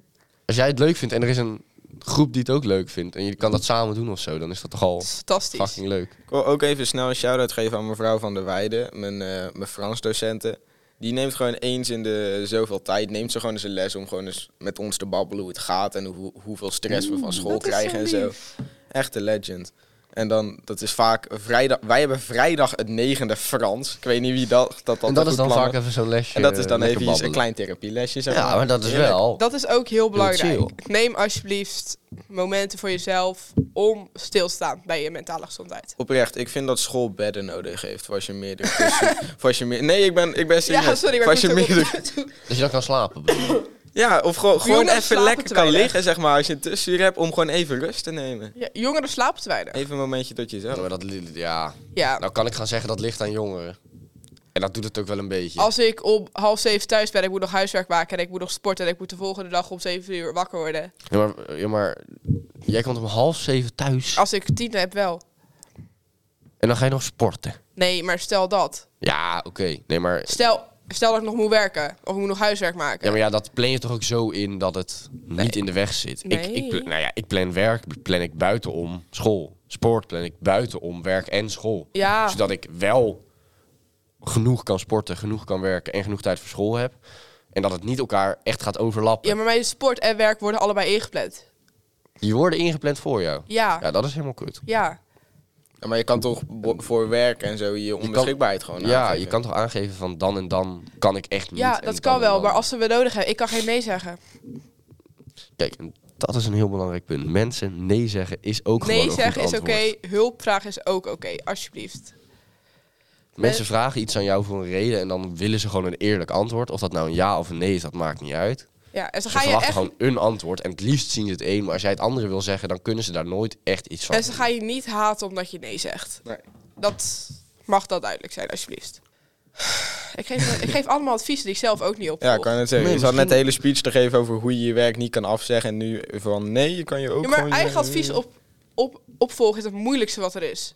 C: Als jij het leuk vindt en er is een groep die het ook leuk vindt en je kan dat samen doen of zo, dan is dat toch al
A: het is fantastisch.
C: fucking leuk.
B: Ik wil ook even snel een shout-out geven aan mevrouw Van der Weijden, mijn, eh, mijn Frans docenten. Die neemt gewoon eens in de zoveel tijd, neemt ze gewoon eens een les om gewoon eens met ons te babbelen hoe het gaat en hoe, hoeveel stress we van school
A: Mm, dat is
B: krijgen en
A: zo
B: zo. Echt een legend. En dan, dat is vaak vrijdag, wij hebben vrijdag het negende Frans. Ik weet niet wie dat dat, dat
C: en dat
B: goed
C: is dan
B: plannen.
C: vaak even zo'n lesje.
B: En dat is dan even
C: eh, lekker
B: een
C: babbelen.
B: klein therapielesje, zeg
C: Ja, maar dat is
B: Heerlijk.
C: wel.
A: Dat is ook heel belangrijk.
C: chill.
A: Neem alsjeblieft momenten voor jezelf om stil te staan bij je mentale gezondheid.
B: Oprecht, ik vind dat school bedden nodig heeft voor als je meerdere... cursussen- voor als je meer, nee, ik ben, ik ben serieus.
A: Ja, sorry,
B: Voor
A: maar ik
B: als je
A: moest ook
B: meerdere
A: op-
C: Dat je dan kan slapen. bedoel je?
B: Ja, of gewoon, gewoon
A: Jongens
B: even
A: slapen
B: lekker
A: te
B: kan
A: weinig.
B: liggen, zeg maar, als je een tussenuur hebt, om gewoon even rust te nemen.
A: Ja, jongeren slapen te weinig.
B: Even een momentje tot
C: Ja,
B: jezelf.
C: maar dat, li- ja.
A: Ja,
C: Nou kan ik gaan zeggen dat ligt aan jongeren. En dat doet het ook wel een beetje.
A: als ik om half zeven thuis ben, ik moet nog huiswerk maken en ik moet nog sporten en ik moet de volgende dag om zeven uur wakker worden.
C: Ja, maar, ja, maar jij komt om half zeven thuis
A: Als ik tien heb, wel.
C: en dan ga je nog sporten.
A: Nee, maar stel dat.
C: Ja, oké. Nee, maar
A: Stel, stel dat ik nog moet werken of ik moet nog huiswerk maken.
C: Ja, maar ja, dat plan je toch ook zo in dat het niet in de weg zit. Ik, ik,
A: Nee.
C: pla- nou ja, ik plan werk, plan ik buitenom school. Sport plan ik buitenom werk en school.
A: Ja.
C: Zodat ik wel genoeg kan sporten, genoeg kan werken en genoeg tijd voor school heb. En dat het niet elkaar echt gaat overlappen.
A: Ja, maar mijn sport en werk worden allebei ingepland.
C: Die worden ingepland voor jou.
A: Ja.
C: Ja, dat is helemaal kut.
A: Ja.
B: Ja, maar je kan toch bo- voor werk en zo je onbeschikbaarheid gewoon
C: ja,
B: aangeven.
C: je kan toch aangeven van dan en dan kan ik echt niet.
A: Ja,
C: en
A: dat
C: dan
A: kan
C: en
A: wel,
C: dan.
A: maar als ze me nodig hebben, ik kan geen nee zeggen.
C: Kijk, en dat is een heel belangrijk punt. Mensen nee zeggen is ook gewoon
A: Nee
C: een
A: zeggen
C: goed
A: is oké,
C: antwoord.
A: hulp vragen is ook oké, alsjeblieft.
C: Mensen vragen iets aan jou voor een reden en dan willen ze gewoon een eerlijk antwoord. Of dat nou een ja of een nee is, dat maakt niet uit.
A: Ja, en ze,
C: Ze
A: gaan je
C: verwachten
A: echt,
C: gewoon een antwoord en het liefst zien ze het een. Maar als jij het andere wil zeggen, dan kunnen ze daar nooit echt iets van.
A: en ze gaan je niet haten omdat je nee zegt.
B: Nee.
A: Dat mag dat duidelijk zijn, alsjeblieft. Ik geef, ik geef allemaal adviezen die ik zelf ook niet op.
B: Ja, ik kan het zeggen.
C: Nee,
B: je zat net de
C: misschien-
B: hele speech te geven over hoe je je werk niet kan afzeggen. En nu van nee, je kan je ook
A: maar
B: gewoon je-
A: eigen advies op, op, opvolgen is het moeilijkste wat er is.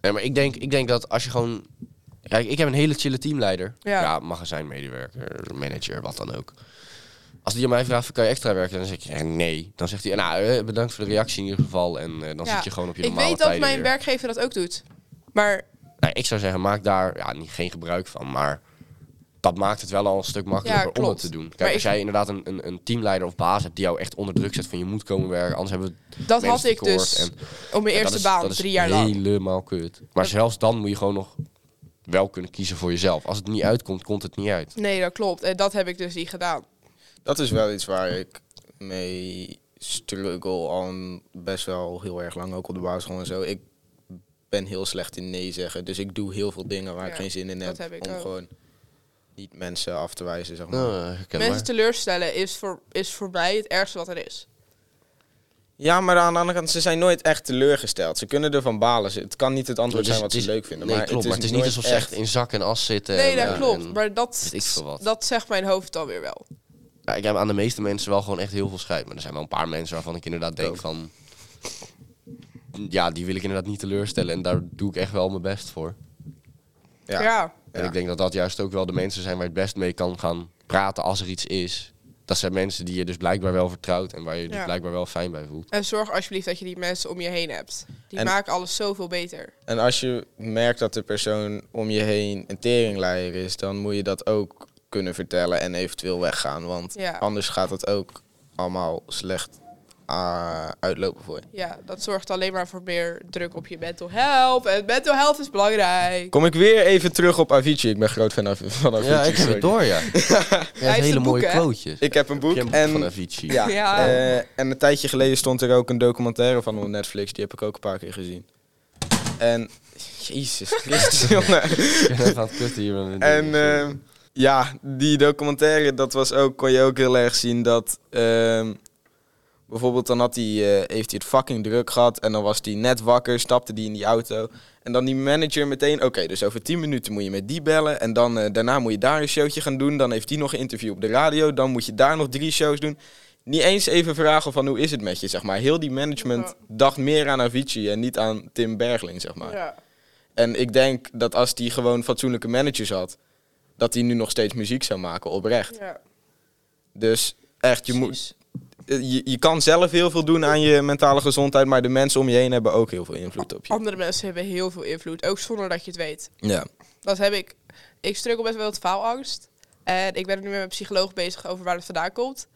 C: Nee, maar ik denk, ik denk dat als je gewoon... Kijk, ik heb een hele chille teamleider. Ja,
A: Ja.
C: magazijnmedewerker, manager, wat dan ook. Als die aan mij vraagt, kan je extra werken? Dan zeg ik, eh, nee. Dan zegt hij, nou, eh, bedankt voor de reactie in ieder geval. En eh, dan
A: Ja.
C: zit je gewoon op je
A: ik
C: normale
A: weet dat
C: tijden
A: mijn
C: weer.
A: werkgever dat ook doet. Maar
C: Nou, ik zou zeggen, maak daar ja, niet, geen gebruik van, maar dat maakt het wel al een stuk makkelijker om het
A: klopt.
C: te doen. Kijk,
A: Maar
C: als
A: ik-
C: jij inderdaad een, een, een teamleider of baas hebt die jou echt onder druk zet van je moet komen werken, anders hebben we
A: dat
C: het
A: had ik
C: menstekort
A: dus
C: en-
A: op mijn
C: ja, dat
A: eerste
C: is-
A: baan,
C: dat is
A: drie jaar lang.
C: helemaal kut. Maar zelfs dan moet je gewoon nog wel kunnen kiezen voor jezelf. Als het niet uitkomt, komt het niet uit.
A: Nee, dat klopt. En dat heb ik dus niet gedaan.
B: Dat is wel iets waar ik mee struggle al best wel heel erg lang, ook op de basisschool en zo. Ik ben heel slecht in nee zeggen. Dus ik doe heel veel dingen waar ik
A: Ja,
B: geen zin in
A: dat
B: heb.
A: heb ik
B: om
A: ook.
B: gewoon niet mensen af te wijzen, zeg maar.
C: Nou, herkenbaar.
A: Mensen teleurstellen is, voor, is voor mij het ergste wat er is.
B: Ja, maar aan de andere kant, ze zijn nooit echt teleurgesteld. Ze kunnen ervan balen. Ze- Het kan niet het antwoord
C: Het is-
B: zijn wat
C: het
B: ze
C: is-
B: leuk vinden.
C: Nee,
B: maar
C: klopt.
B: het is,
C: niet
B: nooit
C: alsof ze echt
B: echt-
C: in zak en as zitten.
A: Nee,
C: en,
A: dat
C: eh,
A: klopt.
C: en-
A: Maar dat,
C: weet ik veel wat.
A: dat zegt mijn hoofd dan weer wel.
C: Ja, ik heb aan de meeste mensen wel gewoon echt heel veel scheid. Maar er zijn wel een paar mensen waarvan ik inderdaad denk
B: ook.
C: van... Ja, die wil ik inderdaad niet teleurstellen. En daar doe ik echt wel mijn best voor.
A: Ja.
B: ja.
C: En
B: Ja.
C: ik denk dat dat juist ook wel de mensen zijn waar je het best mee kan gaan praten als er iets is. Dat zijn mensen die je dus blijkbaar wel vertrouwt en waar je je dus
A: Ja.
C: blijkbaar wel fijn bij voelt.
A: En zorg alsjeblieft dat je die mensen om je heen hebt. Die
B: En-
A: maken alles zoveel beter.
B: En als je merkt dat de persoon om je heen een teringleier is, dan moet je dat ook kunnen vertellen en eventueel weggaan. Want
A: Ja.
B: anders gaat het ook allemaal slecht ah, uitlopen voor je.
A: Ja, dat zorgt alleen maar voor meer druk op je mental health. En mental health is belangrijk.
B: Kom ik weer even terug op Avicii. Ik ben groot fan van van Avicii. sorry.
C: door, ja.
A: heeft hele
C: hele
A: een boek, mooie
C: mooie
A: hè?
C: quotejes.
B: Ik heb een boek
C: van
B: en...
C: Avicii.
B: Ja,
A: Ja.
B: eh, en een tijdje geleden stond er ook een documentaire van op Netflix. Die heb ik ook een paar keer gezien. En... Jezus Christus, jongen.
C: Ik ben even aan het kutten hier met mijn
B: En
C: ding.
B: ehm, ja, die documentaire, dat was ook, kon je ook heel erg zien dat... ehm, bijvoorbeeld dan had hij, eh, heeft hij het fucking druk gehad en dan was hij net wakker, stapte die in die auto. En dan die manager meteen, oké, dus over 10 minuten moet je met die bellen. En dan eh, daarna moet je daar een showtje gaan doen. Dan heeft die nog een interview op de radio. Dan moet je daar nog drie shows doen. Niet eens even vragen van hoe is het met je, zeg maar. Heel die management
A: Ja.
B: dacht meer aan Avicii en niet aan Tim Bergling, zeg maar.
A: Ja.
B: En ik denk dat als hij gewoon fatsoenlijke managers had, dat hij nu nog steeds muziek zou maken, oprecht.
A: Ja.
B: Dus echt, je, moet, eh, je, je kan zelf heel veel doen aan je mentale gezondheid, maar de mensen om je heen hebben ook heel veel invloed op je.
A: Andere mensen hebben heel veel invloed. Ook zonder dat je het weet.
B: Ja.
A: Dat heb ik. Ik struggle best wel met faalangst. En ik ben er nu met mijn psycholoog bezig over waar het vandaan komt.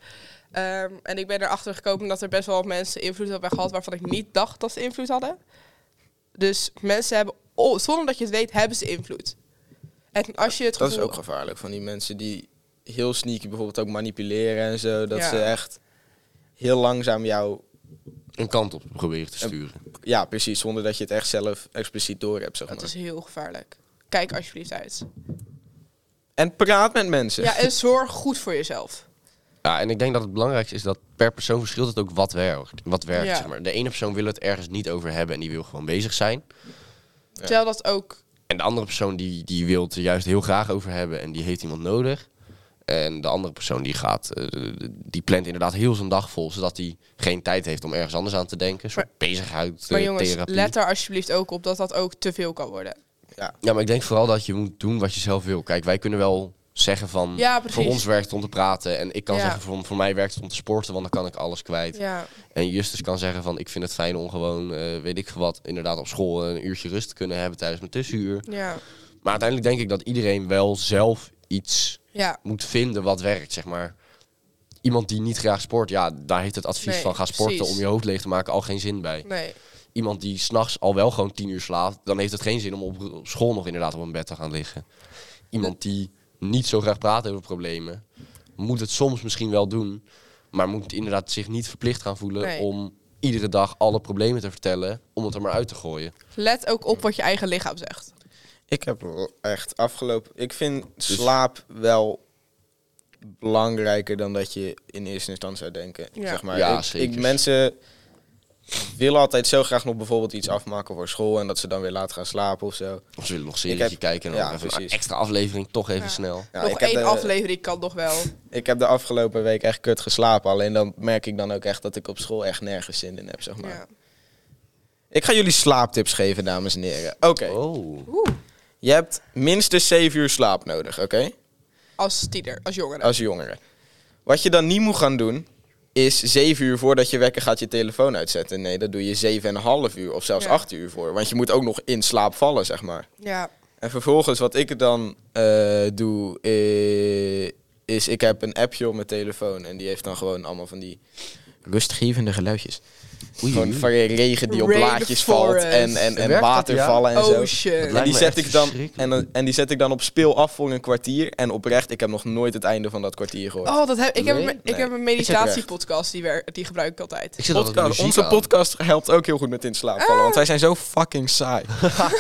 A: Ehm, en ik ben erachter gekomen dat er best wel wat mensen invloed hebben gehad waarvan ik niet dacht dat ze invloed hadden. Dus mensen hebben, oh, zonder dat je het weet, hebben ze invloed. En als je het
B: Dat is
A: gevoel...
B: ook gevaarlijk van die mensen die heel sneaky bijvoorbeeld ook manipuleren en zo. Dat
A: Ja.
B: ze echt heel langzaam jou,
C: een kant op proberen te sturen.
B: ja precies, zonder dat je het echt zelf expliciet door hebt. Zeg maar.
A: Dat is heel gevaarlijk. Kijk alsjeblieft uit.
B: En praat met mensen.
A: Ja, en zorg goed voor jezelf.
C: Ja, en ik denk dat het belangrijkste is dat per persoon verschilt het ook wat werkt. Wat werkt
A: Ja.
C: zeg maar. De ene persoon wil het ergens niet over hebben en die wil gewoon bezig zijn.
A: Terwijl dat ook...
C: En de andere persoon die, die wil het er juist heel graag over hebben en die heeft iemand nodig. En de andere persoon die gaat, eh, die plant inderdaad heel zijn dag vol, zodat hij geen tijd heeft om ergens anders aan te denken. Een soort bezigheid, eh,
A: Maar jongens,
C: therapie.
A: let er alsjeblieft ook op dat dat ook te veel kan worden.
C: Ja, maar ik denk vooral dat je moet doen wat je zelf wil. Kijk, wij kunnen wel zeggen van,
A: Ja,
C: voor
A: precies.
C: ons werkt het om te praten. En ik kan
A: Ja.
C: zeggen, voor, voor mij werkt het om te sporten, want dan kan ik alles kwijt.
A: Ja,
C: En Justus kan zeggen van, ik vind het fijn om gewoon, eh, weet ik veel wat, inderdaad op school een uurtje rust te kunnen hebben tijdens mijn tussenuur.
A: ja,
C: Maar uiteindelijk denk ik dat iedereen wel zelf iets
A: ja.
C: moet vinden wat werkt, zeg maar. Iemand die niet graag sport, ja, daar heeft het advies
A: Nee,
C: van ga sporten
A: precies.
C: om je hoofd leeg te maken al geen zin bij.
A: Nee.
C: Iemand die s'nachts al wel gewoon tien uur slaapt, dan heeft het geen zin om op op school nog inderdaad op een bed te gaan liggen. Iemand die niet zo graag praat over problemen, moet het soms misschien wel doen, maar moet inderdaad zich niet verplicht gaan voelen
A: Nee.
C: om iedere dag alle problemen te vertellen, om het er maar uit te gooien.
A: Let ook op wat je eigen lichaam zegt.
B: Ik heb l- echt afgelopen. Ik vind
C: Dus-
B: slaap wel belangrijker dan dat je in eerste instantie zou denken.
A: Ja.
B: Zeg maar.
C: Ja,
B: ik,
C: zeker.
B: ik- mensen willen altijd zo graag nog bijvoorbeeld iets afmaken voor school en dat ze dan weer laat gaan slapen of zo.
C: Of ze willen nog serietje
B: heb-
C: kijken en
B: ja,
C: dan nog even een
B: precies.
C: extra aflevering toch even snel.
B: Ja,
A: Nog
B: ik, heb
A: één
B: de,
A: aflevering kan nog wel.
B: ik heb de afgelopen week echt kut geslapen. Alleen dan merk ik dan ook echt dat ik op school echt nergens zin in heb. Zeg maar.
A: Ja.
B: Ik ga jullie slaaptips geven, dames en heren. Oké,
C: Oh.
A: Oeh,
B: je hebt minstens 7 uur slaap nodig, oké?
A: als tiener, als jongere.
C: Oh.
B: als jongere. Wat je dan niet moet gaan doen, is zeven uur voordat je wekker gaat je telefoon uitzetten. Nee, dat doe je zeven en een half uur of zelfs
A: Ja.
B: acht uur voor. Want je moet ook nog in slaap vallen, zeg maar.
A: Ja,
B: En vervolgens, wat ik dan eh, doe, eh, is ik heb een appje op mijn telefoon. En die heeft dan gewoon allemaal van die rustgevende geluidjes.
C: Oei,
B: Gewoon
C: oei.
B: van je regen die op blaadjes valt en, en, en
C: Werkt dat, ja?
B: watervallen
A: Oh,
B: en zo.
A: Ocean.
B: En
C: Lijkt
B: die,
C: me
B: zet
C: echt
B: ik dan, en,
C: verschrikkelijk.
B: dan- en die zet ik dan op speel af voor een kwartier. En oprecht, ik heb nog nooit het einde van dat kwartier gehoord.
A: Oh, dat heb, ik, heb,
C: Nee,
A: een- ik
B: nee.
A: heb een meditatiepodcast die, wer- die gebruik ik altijd.
C: Ik zit altijd
B: Podcast-
C: muziek
B: onze
C: aan.
B: podcast helpt ook heel goed met in slaap vallen. Want wij zijn zo fucking saai.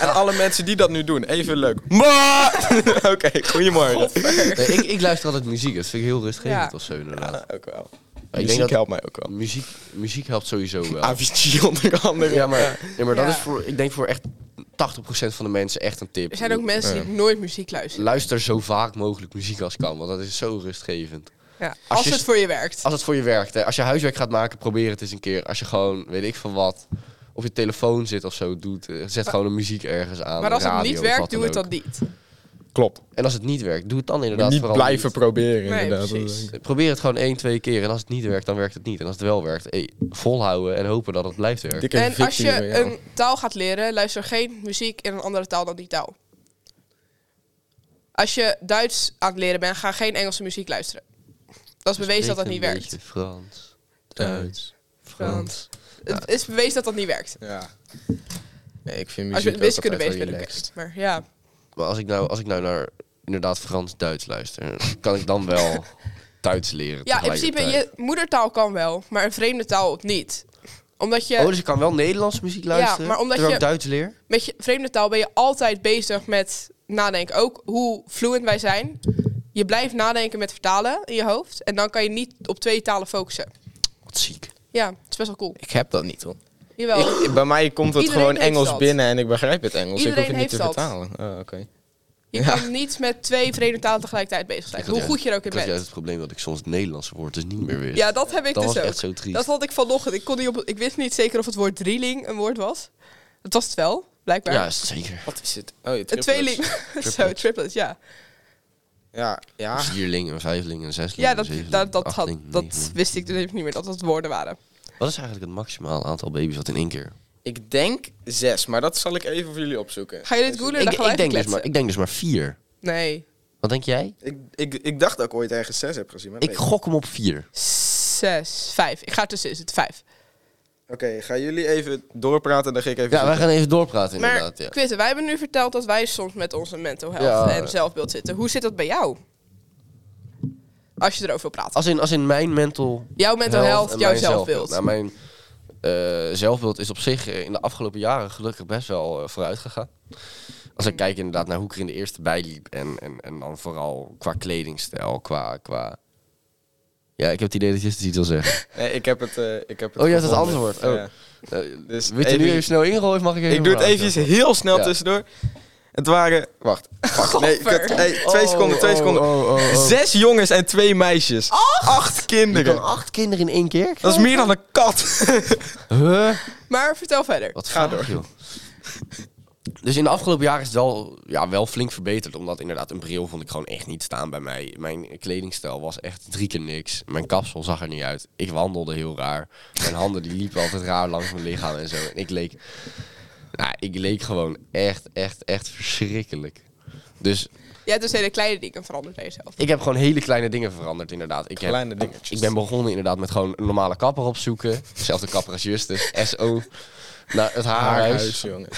B: en alle mensen die dat nu doen, even leuk. Maar! Oké, goedemorgen.
C: Nee, ik, ik luister altijd muziek. Dat vind ik heel rustgevend
A: Ja.
C: of zo inderdaad.
B: Ja, ook wel.
C: denk
B: Muziek
C: dat-
B: helpt mij ook wel.
C: Muziek, muziek helpt sowieso wel.
B: Avicii onder andere.
C: Ja, maar, ja, maar dat
A: Ja.
C: is voor, ik denk voor echt 80% van de mensen echt een tip.
A: Er zijn ook mensen die nooit muziek luisteren.
C: Luister zo vaak mogelijk muziek als kan, want dat is zo rustgevend.
A: Ja. Als,
C: je
A: het
C: s-
A: voor je werkt.
C: Als het voor je werkt, hè. als je huiswerk gaat maken, probeer het eens een keer. Als je gewoon, weet ik van wat, op je telefoon zit of zo, doet, eh, zet gewoon een muziek ergens aan.
A: maar als het
C: radio
A: niet
C: of
A: werkt,
C: wat
A: doe het
C: ook.
A: dan niet.
B: Klopt.
C: En als het niet werkt, doe het dan
B: Moet
C: inderdaad
B: Niet
C: vooral
B: blijven
C: niet.
B: proberen
A: Nee,
B: inderdaad.
A: precies.
C: Probeer het gewoon één, twee keer. En als het niet werkt, dan werkt het niet. En als het wel werkt, eh, volhouden en hopen dat het blijft werken.
B: Dikke
A: En als je
B: victory, ja.
A: een taal gaat leren, luister geen muziek in een andere taal dan die taal. Als je Duits aan het leren bent, ga geen Engelse muziek luisteren. Dat is bewezen dat dat niet werkt.
C: Frans,
B: Duits,
A: Frans. Het is bewezen dat dat niet werkt.
B: Ja. Nee, ik vind muziek
A: Als je
B: ook
A: wiskunde
B: altijd
A: bezig
B: wel
A: bent, oké.
B: relaxed.
A: Maar ja,
C: Maar als ik nou, als ik nou naar inderdaad Frans-Duits luister, kan ik dan wel Duits leren.
A: ja in principe, je moedertaal kan wel, maar een vreemde taal niet. Omdat je
C: Oh, dus ik kan wel Nederlandse muziek luisteren,
A: maar omdat
C: terwijl
A: je-
C: ik Duits leer?
A: met je vreemde taal ben je altijd bezig met nadenken. Ook hoe fluent wij zijn. Je blijft nadenken met vertalen in je hoofd. En dan kan je niet op twee talen focussen.
C: Wat ziek.
A: Ja, het is best wel cool.
B: Ik heb dat niet hoor.
A: Jawel.
B: Ik- bij mij komt het
A: Oh. Iedereen
B: gewoon
A: heeft
B: Engels
A: dat.
B: binnen en ik begrijp het Engels.
A: Iedereen
B: ik hoef het
A: heeft
B: niet te
A: dat.
B: vertalen. Oh, oké.
A: Je
B: Ja.
A: kan niet met twee vreemde talen tegelijkertijd bezig zijn.
C: Ik had
A: Hoe
C: juist-
A: goed je er ook in
C: Ik had juist
A: bent.
C: het probleem dat ik soms het Nederlandse woord dus niet meer wist.
A: Ja, dat heb ik
C: Dat
A: dus
C: was
A: ook.
C: echt zo triest.
A: Dat had ik vanochtend. Ik, kon niet op, ik wist niet zeker of het woord drieling een woord was. Dat was het wel, blijkbaar.
C: Ja, is het zeker.
B: Wat is het? Oh, je
A: een
B: triplets.
A: tweeling. Zo, triplets, ja.
B: Ja, ja.
C: Vierling, een vijfling, een zesling,
A: Ah. Ja,
C: een
A: dat,
C: zevenling,
A: dat, dat,
C: een
A: had,
C: achtling, een
A: dat
C: negenling.
A: wist ik dus even niet meer, dat dat woorden waren.
C: Wat is eigenlijk het maximaal aantal baby's wat in één keer?
B: Ik denk zes, maar dat zal ik even voor jullie opzoeken.
A: Ga je dit googlen?
C: Ik,
A: Dan gaan
C: ik,
A: we
C: denk
A: even
C: dus maar,
A: kletsen.
C: ik denk dus maar vier.
A: Nee,
C: Wat denk jij?
B: Ik, ik, ik dacht dat ik ooit ergens zes heb gezien. maar
C: Ik
B: nee.
C: gok hem op vier.
A: zes, vijf. Ik ga ertussen, is het vijf.
B: Oké, gaan jullie even doorpraten en dan ga ik even...
C: Ja, wij
B: zoeken.
C: gaan even doorpraten
A: Maar
C: inderdaad. ja.
A: Quinten, wij hebben nu verteld dat wij soms met onze mental health
C: Ja.
A: en zelfbeeld zitten. Hoe zit dat bij jou? Als je erover wil praten.
C: Als in, als in mijn mental
A: Jouw mental health,
C: en
A: jouw
C: mijn
A: zelfbeeld.
C: Nou, mijn eh, zelfbeeld is op zich eh, in de afgelopen jaren gelukkig best wel eh, vooruit gegaan. Als
B: Hmm.
C: ik kijk inderdaad naar hoe ik er in de eerste bij liep. En, en, en dan vooral qua kledingstijl, qua, qua... Ja, ik heb het idee dat je het iets wil zeggen.
B: Nee, ik heb het... eh, ik heb het
C: Oh, je hebt het
B: gevonden.
C: antwoord. Oh.
B: Ja.
C: Eh,
B: Dus
C: Weet je
B: even-
C: nu even snel ingooien of mag ik even...
B: Ik doe het
C: vragen?
B: even heel snel
C: Ja.
B: tussendoor. Het waren... Wacht. Wacht, Nee,
A: Gadver.
B: kut. Hey, twee
C: Oh,
B: seconden, twee
C: eh? oh,
B: seconden.
C: oh, oh, oh.
B: Zes jongens en twee meisjes. Acht,
C: Je
B: kinderen.
C: kan acht kinderen in één keer
B: Dat is meer dan een kat.
C: Huh?
A: Maar vertel verder.
C: Wat
B: Ga
C: gaat
B: door.
C: er, joh. Dus in de afgelopen jaren is het wel, ja, wel flink verbeterd. Omdat inderdaad een bril vond ik gewoon echt niet staan bij mij. Mijn kledingstijl was echt drie keer niks. Mijn kapsel zag er niet uit. Ik wandelde heel raar. Mijn handen die liepen altijd raar langs mijn lichaam en zo. En ik leek... Nou, ik leek gewoon echt, echt, echt verschrikkelijk. Dus
A: Je hebt dus hele kleine dingen veranderd aan jezelf.
C: ik heb gewoon hele kleine dingen veranderd, inderdaad. Ik heb,
B: Kleine dingetjes.
C: Ik ben begonnen inderdaad met gewoon een normale kapper opzoeken. Zelfde kapper als Justus, SO. Naar het haarhuis.
B: jongen.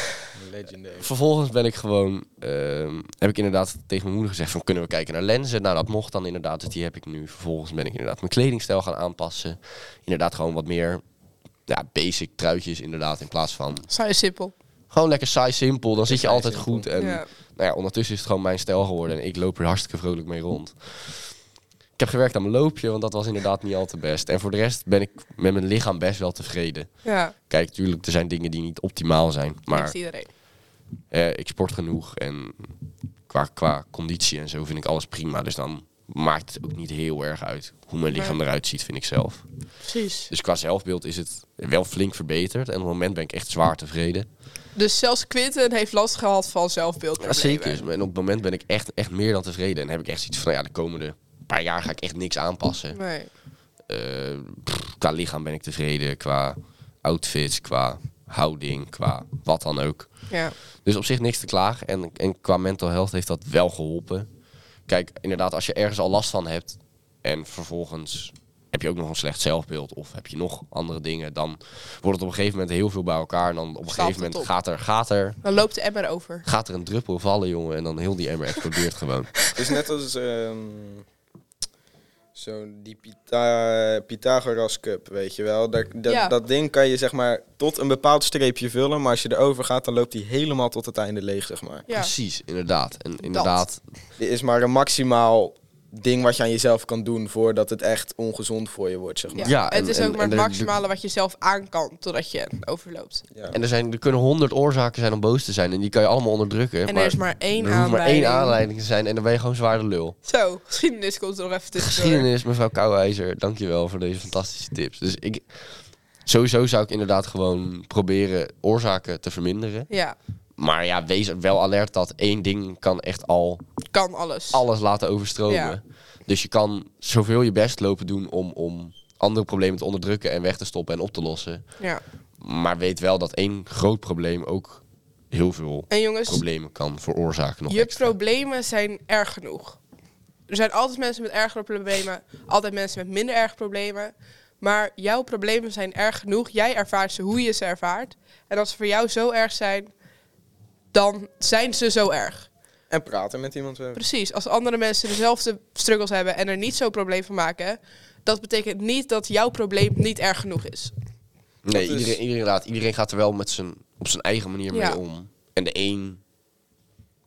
B: Legendary.
C: Vervolgens ben ik gewoon, ehm, heb ik inderdaad tegen mijn moeder gezegd van kunnen we kijken naar lenzen. Nou, dat mocht dan inderdaad, dus die heb ik nu. Vervolgens ben ik inderdaad mijn kledingstijl gaan aanpassen. Inderdaad gewoon wat meer ja, basic truitjes inderdaad in plaats van
A: Saai simpel.
C: gewoon lekker saai simpel. Dan zit je
B: Saai,
C: altijd
B: simpel.
C: goed en
A: Ja.
C: nou ja, ondertussen is het gewoon mijn stijl geworden en ik loop er hartstikke vrolijk mee rond. Ik heb gewerkt aan mijn loopje, want dat was inderdaad niet al te best. En voor de rest ben ik met mijn lichaam best wel tevreden.
A: Ja,
C: Kijk, tuurlijk, er zijn dingen die niet optimaal zijn, maar
A: maar. iedereen.
C: eh, ik sport genoeg en qua, qua conditie en zo vind ik alles prima. Dus dan maakt het ook niet heel erg uit hoe mijn lichaam eruit ziet, vind ik zelf.
A: Precies.
C: Dus qua zelfbeeld is het wel flink verbeterd. En op het moment ben ik echt zwaar tevreden.
A: Dus zelfs Quinten heeft last gehad van zelfbeeldproblemen.
C: Dus En op het moment ben ik echt, echt meer dan tevreden. En heb ik echt zoiets van, nou ja, de komende paar jaar ga ik echt niks aanpassen.
A: Nee.
C: Eh, pff, qua lichaam ben ik tevreden, qua outfits, qua houding, qua wat dan ook.
A: Ja.
C: Dus op zich niks te klagen. En, en qua mental health heeft dat wel geholpen. Kijk, inderdaad, als je ergens al last van hebt en vervolgens heb je ook nog een slecht zelfbeeld of heb je nog andere dingen, dan wordt het op een gegeven moment heel veel bij elkaar. En dan op een
A: Stapelt
C: gegeven moment
A: op.
C: gaat er, gaat, er,
A: Dan loopt de emmer over.
C: gaat er een druppel vallen, jongen. En dan heel die emmer explodeert gewoon.
B: Het is net als ehm zo'n die Pytha- Pythagoras Cup, weet je wel. Daar, dat-
A: Ja.
B: Dat ding kan je zeg maar tot een bepaald streepje vullen, maar als je erover gaat, dan loopt die helemaal tot het einde leeg, zeg maar.
A: Ja.
C: Precies, inderdaad. En inderdaad,
B: Dit is maar een maximaal ding wat je aan jezelf kan doen voordat het echt ongezond voor je wordt, zeg
A: Ja.
B: maar.
C: Ja,
A: het
C: en-
A: is
C: en-
A: ook maar
C: en
A: het
C: er-
A: maximale wat je zelf aan kan totdat je overloopt.
B: Ja.
C: En er, zijn, er kunnen honderd oorzaken zijn om boos te zijn. En die kan je allemaal onderdrukken.
A: En
C: maar
A: er is maar één
C: er hoeft maar één
A: aanleiding.
C: aanleiding te zijn. En dan ben je gewoon zwaar de lul.
A: Zo, geschiedenis komt er nog even tussendoor.
C: Geschiedenis, mevrouw Kouwijzer. Dankjewel voor deze fantastische tips. Dus ik... Sowieso zou ik inderdaad gewoon proberen oorzaken te verminderen.
A: Ja,
C: Maar ja, wees wel alert dat één ding kan echt al
A: kan alles.
C: alles laten overstromen.
A: Ja.
C: Dus je kan zoveel je best lopen doen om, om andere problemen te onderdrukken en weg te stoppen en op te lossen.
A: Ja.
C: Maar weet wel dat één groot probleem ook heel veel
A: En jongens,
C: problemen kan veroorzaken. Nog
A: je
C: extra.
A: problemen zijn erg genoeg. Er zijn altijd mensen met ergere problemen, altijd mensen met minder erg problemen. Maar jouw problemen zijn erg genoeg. Jij ervaart ze hoe je ze ervaart. En als ze voor jou zo erg zijn, dan zijn ze zo erg.
B: En praten met iemand. eh.
A: Precies, als andere mensen dezelfde struggles hebben en er niet zo'n probleem van maken, dat betekent niet dat jouw probleem niet erg genoeg is.
C: Nee,
B: Dat is-
C: iedereen, iedereen, laat, iedereen gaat er wel met zijn, op zijn eigen manier
A: Ja.
C: mee om. En de een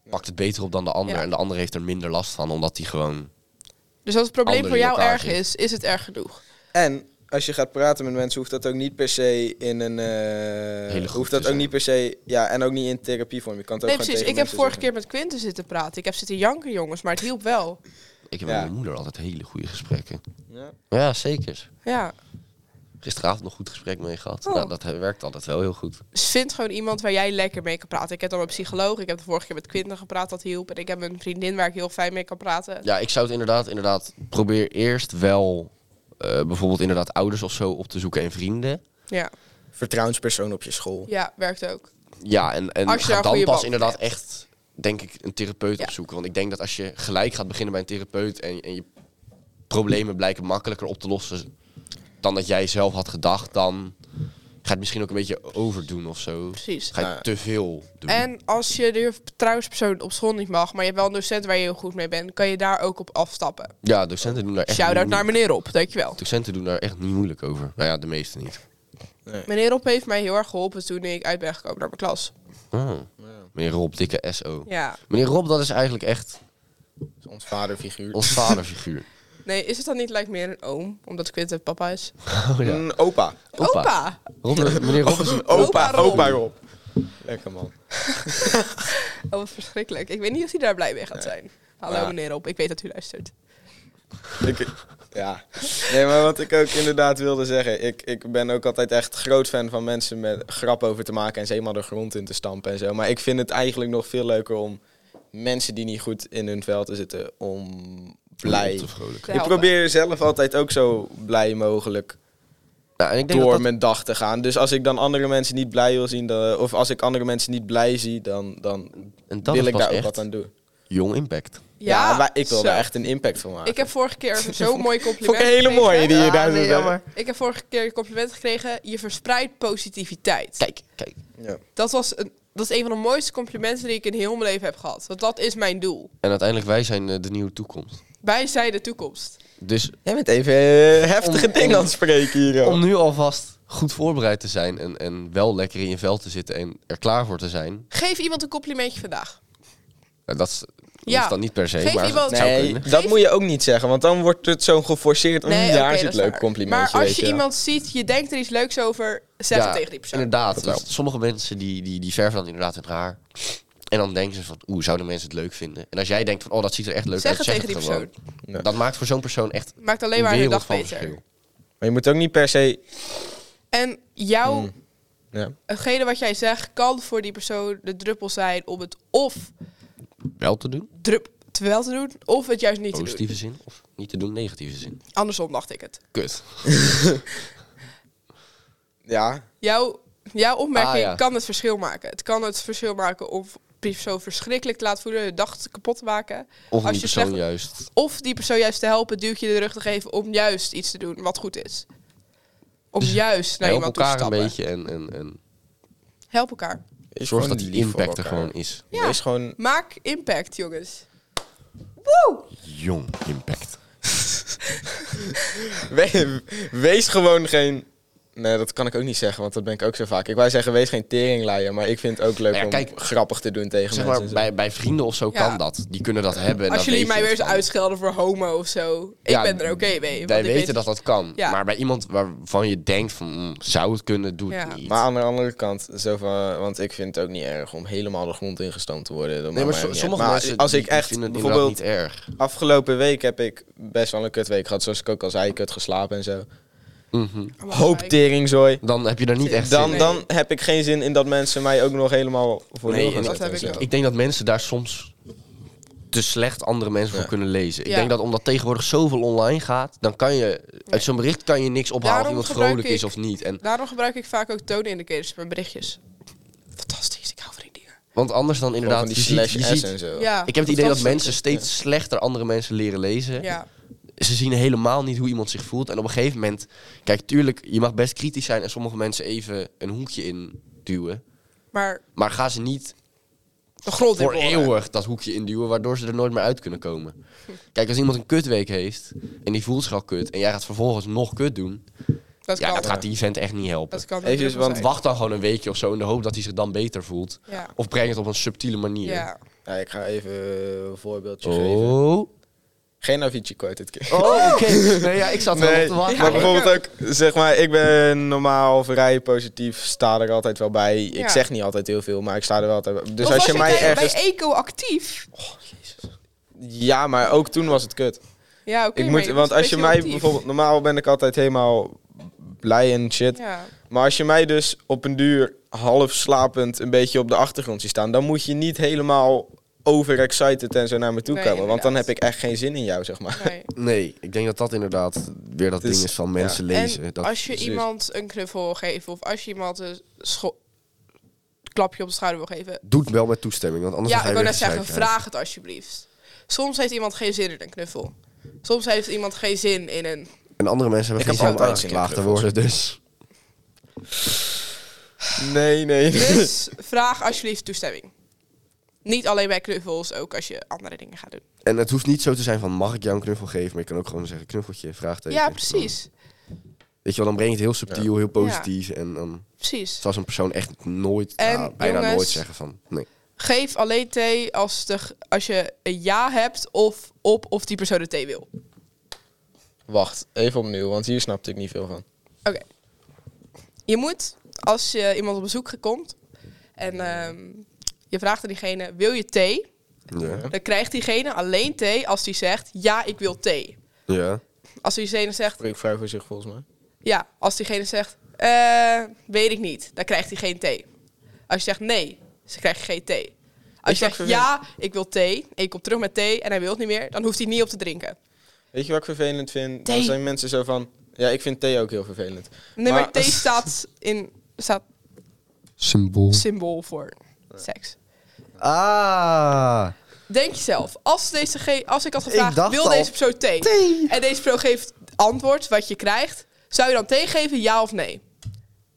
C: pakt het beter op dan de ander.
A: Ja.
C: En de ander heeft er minder last van, omdat die gewoon...
A: Dus als het probleem
C: Anderen
A: voor
C: in
A: jou
C: elkaar
A: erg
C: zitten.
A: is, is het erg genoeg.
B: En als je gaat praten met mensen, hoeft dat ook niet per se in een. eh,
C: groep
B: hoeft
C: te
B: dat ook
C: zijn.
B: niet per se. Ja, en ook niet in therapievorm. Je kan het ook
A: Nee,
B: gewoon
A: precies.
B: tegen
A: Ik heb
B: mensen
A: vorige
B: zeggen.
A: keer met Quinten zitten praten. Ik heb zitten janken, jongens, maar het hielp wel.
C: Ik heb
B: Ja.
C: met mijn moeder altijd hele goede gesprekken.
B: Ja.
C: Ja, zeker.
A: Ja.
C: Gisteravond nog een goed gesprek mee gehad.
A: Oh.
C: Nou, dat he- werkt altijd wel heel goed.
A: Dus vind gewoon iemand waar jij lekker mee kan praten. Ik heb dan een psycholoog. Ik heb de vorige keer met Quinten gepraat, dat hielp. En ik heb een vriendin waar ik heel fijn mee kan praten.
C: Ja, ik zou het inderdaad, inderdaad probeer eerst wel eh, bijvoorbeeld inderdaad ouders of zo op te zoeken en vrienden.
A: Ja,
B: Vertrouwenspersoon op je school.
A: ja werkt ook.
C: Ja, en, en
A: Als je daar
C: ga
A: een
C: dan
A: goede
C: pas
A: band
C: inderdaad
A: mee
C: echt, denk ik, een therapeut
A: Ja.
C: opzoeken. Want ik denk dat als je gelijk gaat beginnen bij een therapeut en, en je problemen blijken makkelijker op te lossen dan dat jij zelf had gedacht, dan ga je het misschien ook een beetje overdoen of zo.
A: Precies.
C: Ga je
B: Nou.
C: te veel doen.
A: En als je de vertrouwenspersoon op school niet mag, maar je hebt wel een docent waar je heel goed mee bent, kan je daar ook op afstappen.
C: ja, docenten doen daar echt
A: Shout-out
C: niet
A: naar
C: moe-
A: meneer Rob, dankjewel.
C: Docenten doen daar echt niet moeilijk over. Nou ja, de meeste niet.
A: Meneer Rob heeft mij heel erg geholpen toen ik uit ben gekomen naar mijn klas.
C: Oh. Meneer Rob, dikke SO.
A: Ja.
C: Meneer Rob, dat is eigenlijk echt
B: Ons vaderfiguur.
C: ons vaderfiguur.
A: Nee, is het dan niet lijkt meer een oom, omdat Quinten papa is?
C: Oh, ja.
B: Een Mm, opa.
A: Mm, Opa!
C: Opa. Rob, meneer Rob is een
A: Opa
B: Opa,
A: Rob.
B: opa Rob. Lekker man.
A: Oh, wat verschrikkelijk. Ik weet niet of hij daar blij mee gaat zijn. Hallo
B: Ja.
A: meneer Rob, ik weet dat u luistert.
B: Ik, ja. Nee, maar wat ik ook inderdaad wilde zeggen. Ik, ik ben ook altijd echt groot fan van mensen met grap over te maken en ze helemaal de grond in te stampen en zo. Maar ik vind het eigenlijk nog veel leuker om mensen die niet goed in hun vel te zitten, om blij.
C: Te vrolijk.
A: Te
B: Ik
A: helpen.
B: probeer zelf altijd ook zo blij mogelijk
C: Nou, en ik denk
B: door
C: dat dat-
B: mijn dag te gaan. Dus als ik dan andere mensen niet blij wil zien, dan- of als ik andere mensen niet blij zie, dan, dan
C: En dat
B: wil
C: is
B: ik
C: pas
B: daar ook
C: echt
B: wat aan doen.
C: Jong impact.
B: Ja, maar ik wil
A: zo.
B: daar echt een impact van maken.
A: Ik heb vorige keer zo'n mooi compliment
B: Vond ik een hele
A: gekregen.
B: mooie die je daar
C: nee,
B: doet.
C: jammer.
A: Ik heb vorige keer een compliment gekregen. Je verspreidt positiviteit.
C: Kijk, kijk.
B: Ja.
A: Dat, was een, dat is een van de mooiste complimenten die ik in heel mijn leven heb gehad. Want dat is mijn doel.
C: En uiteindelijk, wij zijn eh, de nieuwe toekomst.
A: Wij zijn de toekomst.
C: Dus
B: Jij bent even eh, heftige
C: Om-
B: dingen
C: om-
B: aan het spreken hier. joh.
C: om nu alvast goed voorbereid te zijn en, en wel lekker in je vel te zitten en er klaar voor te zijn.
A: Geef iemand een complimentje vandaag.
C: eh, Dat is,
A: Ja.
C: hoeft dan niet per se,
A: Geef
C: maar
A: iemand-
C: het zou
B: nee,
C: kunnen.
B: dat moet je ook niet zeggen, want dan wordt het zo geforceerd. Nee,
A: oké,
B: daar
A: dat
B: zit
A: is
B: leuk
A: waar.
B: complimentje.
A: Maar als
B: weet
A: je
B: wel.
A: iemand ziet, je denkt er iets leuks over, zeg
C: Ja,
A: het tegen die persoon.
C: Inderdaad.
B: Dat wel.
C: Dus sommige mensen die, die, die verven dan inderdaad hun haar. En dan denken ze van, oeh, zouden mensen het leuk vinden? En als jij denkt van, oh, dat ziet er echt leuk
A: Zeg
C: uit,
A: het
C: zeg
A: tegen
C: het
A: die
C: gewoon.
B: Ja.
C: Dat maakt voor zo'n persoon echt
A: Maakt alleen
C: een
A: maar hun
C: wereld
A: dag
C: van
A: beter.
C: verschil.
B: Maar je moet ook niet per se...
A: En jouw,
B: Mm. Ja.
A: hetgene wat jij zegt, kan voor die persoon de druppel zijn om het of
C: Wel te doen,
A: drup terwijl te doen, of het juist niet te doen.
C: positieve zin. Of niet te doen, negatieve zin.
A: Andersom dacht ik het.
C: Kut.
B: ja,
A: Jouw, jouw opmerking
C: Ah, ja. Ah,
A: kan het verschil maken. Het kan het verschil maken of persoon zo verschrikkelijk te laten voelen, hun dag te kapot te maken. Als
C: Of die
A: je
C: persoon
A: slecht-
C: juist.
A: Of die persoon juist te helpen, duwtje de rug te geven om juist iets te doen wat goed is. Om juist naar
C: Dus Help
A: iemand toe te
C: elkaar een
A: stappen.
C: beetje en, en, en
A: Help elkaar.
B: Is
C: zorg
B: gewoon
C: dat die
B: lief voor
C: impact er
B: elkaar.
C: gewoon is.
A: Ja.
B: Wees gewoon...
A: Maak impact, jongens.
C: Jong impact.
B: we- wees gewoon geen... Nee, dat kan ik ook niet zeggen, want dat ben ik ook zo vaak. Ik wou zeggen, wees geen teringleier, maar ik vind het ook leuk
C: Nou Ja,
B: om
C: kijk,
B: grappig te doen tegen
C: Zeg maar,
B: mensen.
C: bij, bij vrienden of zo
A: Ja.
C: kan dat. Die kunnen dat hebben. en
A: Als
C: dat
A: jullie
C: weet
A: mij
C: je
A: weer eens
C: van.
A: uitschelden voor homo of zo, ik
C: Ja,
A: ben er oké mee. want
C: Wij
A: ik
C: weten
A: weet-
C: dat dat kan.
A: Ja.
C: Maar bij iemand waarvan je denkt van, mm, zou het kunnen, doe het
A: Ja.
C: niet.
B: Maar aan de andere kant, zo van, want ik vind het ook niet erg om helemaal de grond ingestoomd te worden. Dat
C: nee,
B: maakt
C: maar
B: mij
C: so-
B: ook niet
C: sommige
B: uit. Maar
C: mensen
B: als
C: die-
B: ik
C: die
B: echt
C: vinden het inderdaad
B: bijvoorbeeld
C: niet erg.
B: Afgelopen week heb ik best wel een kutweek gehad. Zoals ik ook al zei, ik kut geslapen en zo. Hoop teringzooi.
C: Mhm. Dan heb je daar niet echt
B: Dan,
C: zin
B: dan heb ik geen zin in dat mensen mij ook nog helemaal voor
C: Nee,
B: nul gaan
C: en
A: dat
B: zetten
A: heb
B: en
A: ik
B: zo.
A: ook.
C: Ik denk dat mensen daar soms te slecht andere mensen voor kunnen lezen. Ik
A: Ja.
C: denk dat omdat tegenwoordig zoveel online gaat, dan kan je uit zo'n bericht kan je niks ophalen
A: Daarom
C: of iemand
A: gebruik
C: vrolijk is
A: ik-
C: of niet. En,
A: Daarom gebruik ik vaak ook toonindicators in mijn berichtjes. Fantastisch, ik hou van die dingen.
C: want anders dan
B: Gewoon
C: inderdaad,
B: van die
C: je ziet,
B: slash
C: je
B: S
C: ziet-
B: en zo.
A: Ja,
C: ik heb het idee dat
A: fantastisch.
C: mensen steeds slechter andere mensen leren lezen.
A: Ja,
C: Ze zien helemaal niet hoe iemand zich voelt. En op een gegeven moment, kijk, tuurlijk, je mag best kritisch zijn en sommige mensen even een hoekje induwen.
A: maar
C: Maar ga ze niet
A: de grond in
C: voor
A: boren.
C: eeuwig dat hoekje induwen, waardoor ze er nooit meer uit kunnen komen. Kijk, als iemand een kutweek heeft en die voelt zich al kut en jij gaat vervolgens nog kut doen,
A: Dat
C: ja,
A: kan.
C: dat gaat die event echt niet helpen.
A: Dat kan
B: Even,
A: natuurlijk
B: want
A: zijn.
C: Wacht dan gewoon een weekje of zo in de hoop dat hij zich dan beter voelt.
A: Ja.
C: Of breng het op een subtiele manier.
A: Ja.
B: Ja, ik ga even een voorbeeldje geven.
C: Oh,
B: Geen Avicii quote dit keer.
C: oh oké. Nee, ja, ik zat er wel op te wachten.
B: maar
A: Ja, ik
B: bijvoorbeeld ook, zeg maar, ik ben normaal vrij positief, sta er altijd wel bij. Ik
A: Ja.
B: zeg niet altijd heel veel, maar ik sta er wel altijd bij. Dus
A: Of
B: als je
A: was
B: mij
A: jij
B: ergens...
A: bij Eco actief.
B: Ja, maar ook toen was het kut.
A: Ja, oké.
B: Ik
A: maar
B: moet,
A: was
B: want als
A: best
B: je
A: heel
B: mij
A: actief.
B: bijvoorbeeld... Normaal ben ik altijd helemaal blij en shit.
A: Ja.
B: Maar als je mij dus op een duur half slapend een beetje op de achtergrond ziet staan... dan moet je niet helemaal overexcited en zo naar me toe
A: Nee,
B: komen. Want dan heb
A: inderdaad.
B: ik echt geen zin in jou, zeg maar.
A: Nee.
C: Nee, ik denk dat dat inderdaad weer dat
B: Dus-
C: ding is van mensen lezen.
A: En
C: dat,
A: als je
B: precies.
A: iemand een knuffel geeft of als je iemand een scho- klapje op de schouder wil geven.
C: Doet wel met toestemming, want anders
A: ja,
C: ga
A: ik
C: je
A: wil
C: weer
A: net zeggen,
C: gezeik krijgen.
A: vraag het alsjeblieft. Soms heeft iemand geen zin in een knuffel. Soms heeft iemand geen zin in een...
C: En andere mensen hebben
B: Ik
C: geen
B: heb
C: zin om
B: altijd zin in
C: aangeklaagd te
B: knuffels.
C: worden, dus...
B: Nee, nee.
A: Dus vraag alsjeblieft toestemming. Niet alleen bij knuffels, ook als je andere dingen gaat doen.
C: En het hoeft niet zo te zijn van mag ik jou een knuffel geven, maar je kan ook gewoon zeggen knuffeltje, vraagteken.
A: Ja, precies.
C: Weet je wel, dan breng je het heel subtiel, heel positief en dan
A: Precies.
C: zal zo'n persoon echt nooit,
A: En,
C: nou, bijna
A: jongens-
C: nooit zeggen van nee.
A: Geef alleen thee als, de, g- als je een ja hebt of op of die persoon de thee wil. Oké.
B: Wacht, even opnieuw, want hier snapte ik niet veel van.
A: Je moet, als je iemand op bezoek komt en ehm, je vraagt aan diegene, wil je thee?
C: Ja.
A: Dan krijgt diegene alleen thee als die zegt, ja, ik wil thee.
C: ja.
A: Als diegene zegt,
B: Ik vrij voor zich volgens mij.
A: ja, als diegene zegt, eh, weet ik niet, dan krijgt hij geen thee. Als je zegt nee, ze krijgt geen thee. Als je
B: Is dat
A: zegt ja, ik wil thee, en ik kom terug met thee en hij wil het niet meer, dan hoeft hij niet op te drinken.
B: Weet je wat ik vervelend vind? Dan
A: Thee.
B: zijn mensen zo van... Ja, ik vind thee ook heel vervelend.
A: Nee, maar,
B: Maar-
A: thee staat in staat
C: Symbool.
A: symbool voor seks.
C: Ah.
A: Denk jezelf, als, deze ge- als ik had gevraagd,
C: dacht
A: wil
C: al,
A: deze persoon thee? En deze persoon geeft antwoord wat je krijgt, zou je dan thee geven, ja of nee?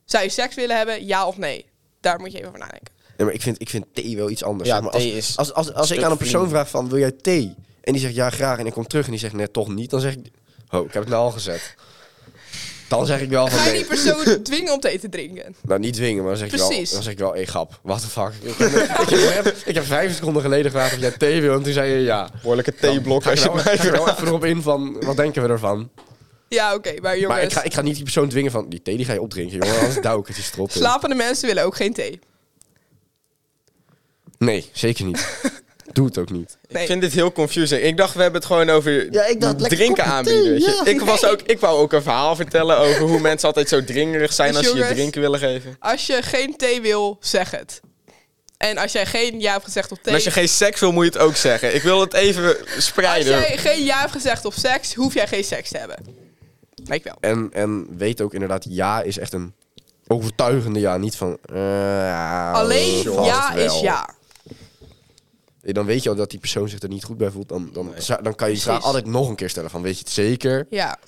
A: Zou je seks willen hebben, ja of nee? Daar moet je even over nadenken.
C: Ja, maar ik vind, ik vind thee wel iets anders.
B: Ja,
C: zeg maar. Als-
B: thee is
C: Als, als, als,
B: stuk
C: ik aan een persoon
B: vriendelijker.
C: vraag van wil jij thee? En die zegt ja graag en ik kom terug en die zegt nee toch niet, dan zeg ik oh ik heb het nou al gezet. Dan zeg ik wel van
A: Ga je die
C: nee.
A: persoon dwingen om thee te drinken?
C: Nou, niet dwingen, maar dan zeg ik
A: Precies.
C: wel, dan zeg ik wel hey, grap, what the fuck. ik, heb, ik, heb, net- ik heb vijf seconden geleden gevraagd of jij thee wil en toen zei je ja.
B: Behoorlijke theeblok
C: Ga ik
B: als je
C: nou,
B: het
C: ga
B: mij
C: ik nou
B: vraagt.
C: even erop in van, wat denken we ervan?
A: Ja, oké, maar jongens,
C: Maar ik ga, ik ga niet die persoon dwingen van, die thee die ga je opdrinken, jongen, anders douw ik het je strop in.
A: slapende mensen willen ook geen thee.
C: Nee, zeker niet. Doe het ook niet.
A: Nee.
B: Ik vind dit heel confusing. Ik dacht, we hebben het gewoon over
C: Ja, ik dacht, lekker
B: drinken
C: kopje
B: aanbieden.
C: thee,
B: weet je.
C: ja.
B: Ik, was ook, ik wou ook een verhaal vertellen over hoe mensen altijd zo dringerig zijn
A: Dus
B: als ze je
A: jongens-
B: drinken willen geven.
A: Als je geen thee wil, zeg het. En als jij geen ja hebt gezegd op
B: En
A: thee...
B: als je geen seks wil, moet je het ook zeggen. Ik wil het even
A: als
B: spreiden.
A: jij geen ja hebt gezegd op seks, hoef jij geen seks te hebben. Lijkt wel.
C: En, en weet ook inderdaad, ja is echt een overtuigende ja. Niet van, eh, ja,
A: Alleen
C: valt
A: ja
C: wel.
A: is ja.
C: dan weet je al dat die persoon zich er niet goed bij voelt. Dan, dan,
B: Nee.
C: zou- dan kan je die vraag
A: Precies.
C: altijd nog een keer stellen van, weet je het zeker?
A: Ja,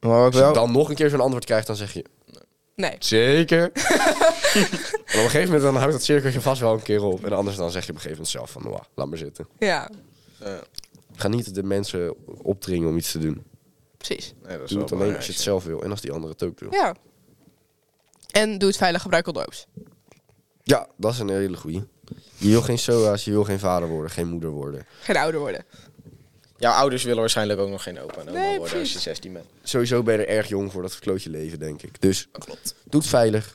B: Maar ook
C: Als je
B: wel.
C: dan nog een keer zo'n antwoord krijgt, dan zeg je,
A: nee.
C: zeker? en op een gegeven moment dan houdt dat cirkeltje vast wel een keer op. En anders dan zeg je op een gegeven moment zelf van, "Mwah, laat maar zitten.
A: Ja,
B: Eh,
C: Ga niet de mensen opdringen om iets te doen.
A: precies.
B: Nee, dat is wel
C: Doe het alleen als
B: belangrijk,
C: je het
B: ja.
C: zelf wil en als die andere het ook wil.
A: Ja. En doe het veilig, gebruik condooms.
C: Ja, dat is een hele goeie. Je wil geen SOA's, je wil geen vader worden, geen moeder worden.
A: Geen ouder worden.
B: Jouw ouders willen waarschijnlijk ook nog geen opa en oma
A: Nee,
B: worden als je
A: precies.
B: 16 bent.
C: Sowieso ben je er erg jong voor dat verklootje leven, denk ik. Dus
B: Dat klopt.
C: doe het veilig.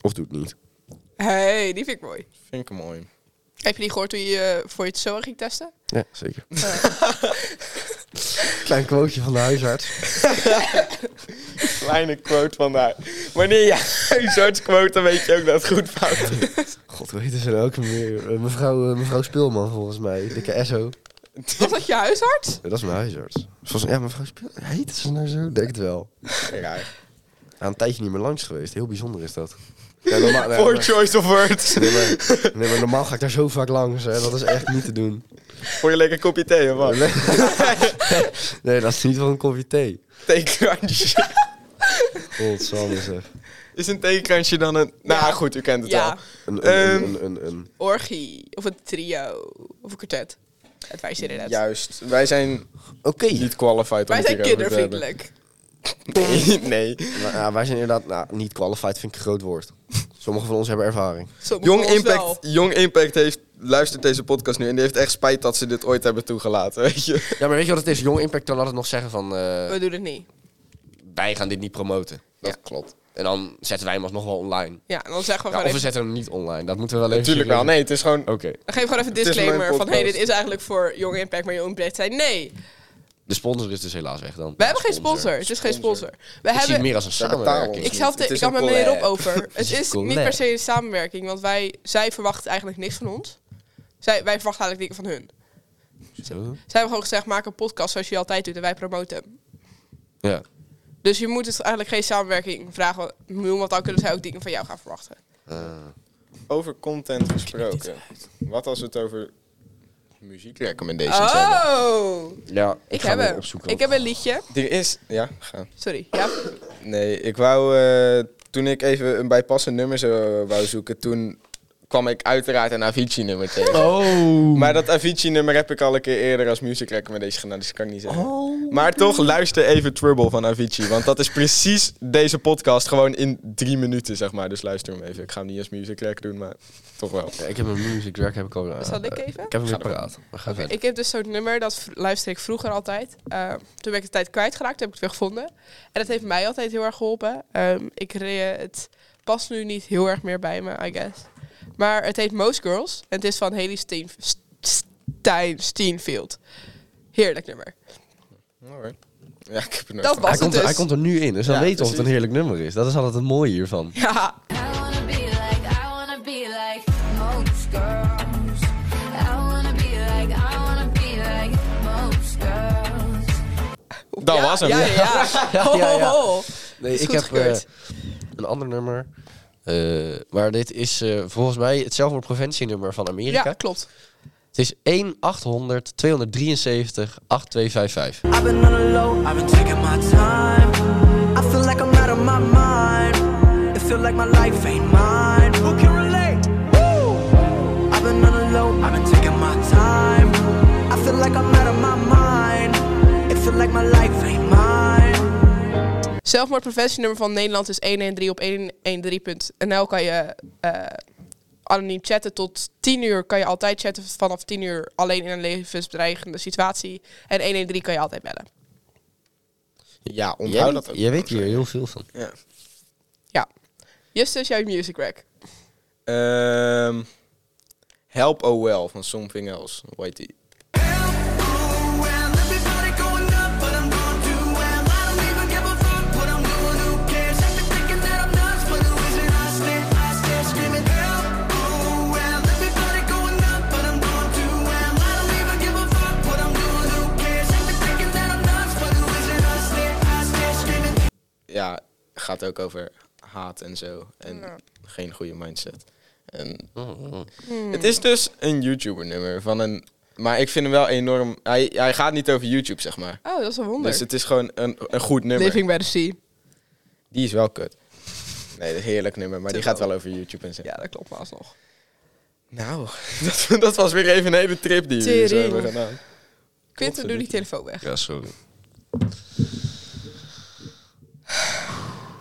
C: Of doe het niet.
A: hey, die vind ik mooi.
B: Vind ik mooi.
A: Heb je die gehoord toen je eh, voor je het zo ging testen?
C: Ja, zeker. Klein quoteje van de huisarts.
B: Kleine quote van daar. Wanneer je huisarts quote, dan weet je ook dat het goed fout is.
C: God weten ze nou ook niet meer. Eh, mevrouw, eh, mevrouw Spilman, volgens mij. Dikke SO.
A: Was dat je huisarts?
C: Ja, dat is mijn huisarts. Volgens mij, ja, mevrouw Spilman. Heet ze nou zo? Denk het wel.
B: Raar.
C: Aan een tijdje niet meer langs geweest. Heel bijzonder is dat. Ja, normaal, nee,
B: Poor
C: maar-
B: choice of words.
C: nee, maar- nee, maar normaal ga ik daar zo vaak langs. Hè. Dat is echt niet te doen.
B: Voor je lekker kopje thee of wat?
C: Nee. nee, dat is niet voor een kopje thee.
B: Theekransje.
C: Godsamme zeg.
B: Is een theekransje dan een... Nou
A: Ja.
B: goed, u kent het
A: Ja.
B: al.
C: Een, een,
B: Ehm.
C: een, een, een-
A: Orgie. Of een trio. Of een kwartet. Het wijst inderdaad.
B: Juist. Wij zijn
C: Oké.
B: niet qualified om
A: Wij
B: het
A: zijn
B: hierover te hebben.
A: kindervriendelijk.
B: Nee. nee.
C: Maar, ja, wij zijn inderdaad nou, niet qualified, vind ik een groot woord. Sommigen van ons hebben ervaring.
A: Sommigen
B: Jong
A: van ons wel.
B: Impact, Jong Impact heeft, luistert deze podcast nu en die heeft echt spijt dat ze dit ooit hebben toegelaten, weet je.
C: Ja, maar weet je wat het is? Jong Impact kan altijd nog zeggen van... eh,
A: We doen het niet.
C: wij gaan dit niet promoten. Dat
A: Ja.
C: klopt. En dan zetten wij hem alsnog wel online.
A: Ja, en dan zeggen we
C: Ja,
A: gewoon
C: of we
A: even...
C: zetten hem niet online. Dat moeten we wel even...
B: Natuurlijk wel. Nee, het is gewoon...
C: Oké.
A: Dan geef gewoon even een
B: Het is mijn
A: disclaimer van... hey, dit
B: podcast.
A: is eigenlijk voor Jong Impact, maar Jong Impact zei nee.
C: De sponsor is dus helaas weg dan.
A: We hebben geen sponsor. Het is geen
B: Sponsor.
A: sponsor. We
C: Ik zie het
A: hebben...
C: meer als een
B: Ze betalen
C: samenwerking.
B: ons
A: Ik,
B: niet.
A: zelf
B: Het
A: ik
B: is
A: had
B: een
A: met meneer Rob
B: collab.
A: over. Het is niet
C: collab.
A: per se een samenwerking, want wij, zij verwachten eigenlijk niks van ons. Zij, wij verwachten eigenlijk dingen van hun.
C: Zo.
A: Zij hebben gewoon gezegd, maak een podcast zoals je altijd doet en wij promoten hem.
C: Ja.
A: Dus je moet het eigenlijk geen samenwerking vragen, want dan kunnen zij ook dingen van jou gaan verwachten.
C: Eh,
B: Over content gesproken.
A: Oh.
B: Wat als we het over muziekrecommendations hebben?
A: Oh!
C: ja.
A: Ik
C: ga
A: heb,
C: weer
A: hem.
C: opzoeken.
A: ik heb een liedje.
B: Er is... Ja, ga.
A: Sorry. Ja.
B: Nee, ik wou... eh, toen ik even een bijpassend nummer zo wou zoeken, toen kwam ik uiteraard een Avicii-nummer tegen.
C: Oh.
B: Maar dat Avicii-nummer heb ik al een keer eerder als music recommendation gedaan, dus dat kan ik niet zeggen.
A: Oh.
B: Maar toch, luister even Trouble van Avicii. Want dat is precies deze podcast, gewoon in drie minuten, zeg maar. Dus luister hem even. Ik ga hem niet als music rec doen, maar toch wel.
C: Ja, ik heb een music track heb ik al. eh,
A: Zal ik even?
C: Ik heb hem weer paraat. Maar ga verder.
A: Ik heb dus zo'n nummer, dat v- luister ik vroeger altijd. Eh, toen ben ik de tijd kwijtgeraakt, heb ik het weer gevonden. En dat heeft mij altijd heel erg geholpen. Ehm, ik re- het past nu niet heel erg meer bij me, I guess. Maar het heet Most Girls. En het is van Haley Steen, Stijn, Steenfield. Heerlijk nummer.
B: Alright. Ja, ik heb er nooit
A: Dat
B: van.
A: was
C: Hij
A: het
C: komt, er,
A: dus.
C: hij komt er nu in, dus dan
B: Ja,
C: weten we of het een
B: precies.
C: heerlijk nummer is. Dat is altijd het mooie hiervan.
A: Ja,
D: I wanna be like, I wanna be like most girls. I wanna be like, I wanna be like most girls.
B: Dat
A: Ja,
B: was hem.
A: Ja, ja, ja.
C: Ja, ja, ja.
A: Ho, ho, ho.
C: Nee,
A: Is
C: ik
A: goed
C: heb eh,
A: gekeurd.
C: een ander nummer. eh, maar dit is eh, volgens mij het zelfmoordpreventienummer van Amerika.
A: Ja, klopt.
C: Het is 1 800 273 8255.
E: I've been on the low, I've been taking my time. I feel like I'm out of my mind. It feel like my life ain't mine. Who can relate? Woo! I've been on the low, I've been taking my time. I feel like I'm out of my mind. It feel like my life ain't mine.
A: Zelfmoordpreventienummer van Nederland is 113 op 113.nl kan je eh, anoniem chatten. Tot 10 uur kan je altijd chatten. Vanaf 10 uur alleen in een levensbedreigende situatie. En 113 kan je altijd bellen.
B: Ja, onthoud
C: Jij,
B: dat ook.
C: jij weet hier heel veel van.
B: Ja.
A: Ja. Justus, jouw music rack.
B: Ehm, Help Oh Well van Something Else. Hoe heet die? Ja, gaat ook over haat en zo. En geen goede mindset. En
A: Hmm.
B: Het is dus een YouTuber-nummer van een. Maar ik vind hem wel enorm. Hij, hij gaat niet over YouTube, zeg maar.
A: Oh, dat is een wonder.
B: Dus het is gewoon een, een goed nummer.
A: Living by the Sea.
B: Die is wel kut. Nee, dat is een heerlijk nummer, maar die gaat wel over YouTube en zo.
A: Ja, dat klopt maar alsnog.
B: Nou, dat, dat was weer even een hele trip die we hier zo
A: Tering.
B: hebben gedaan.
A: Quinten, doe die telefoon weg.
C: Ja, sorry.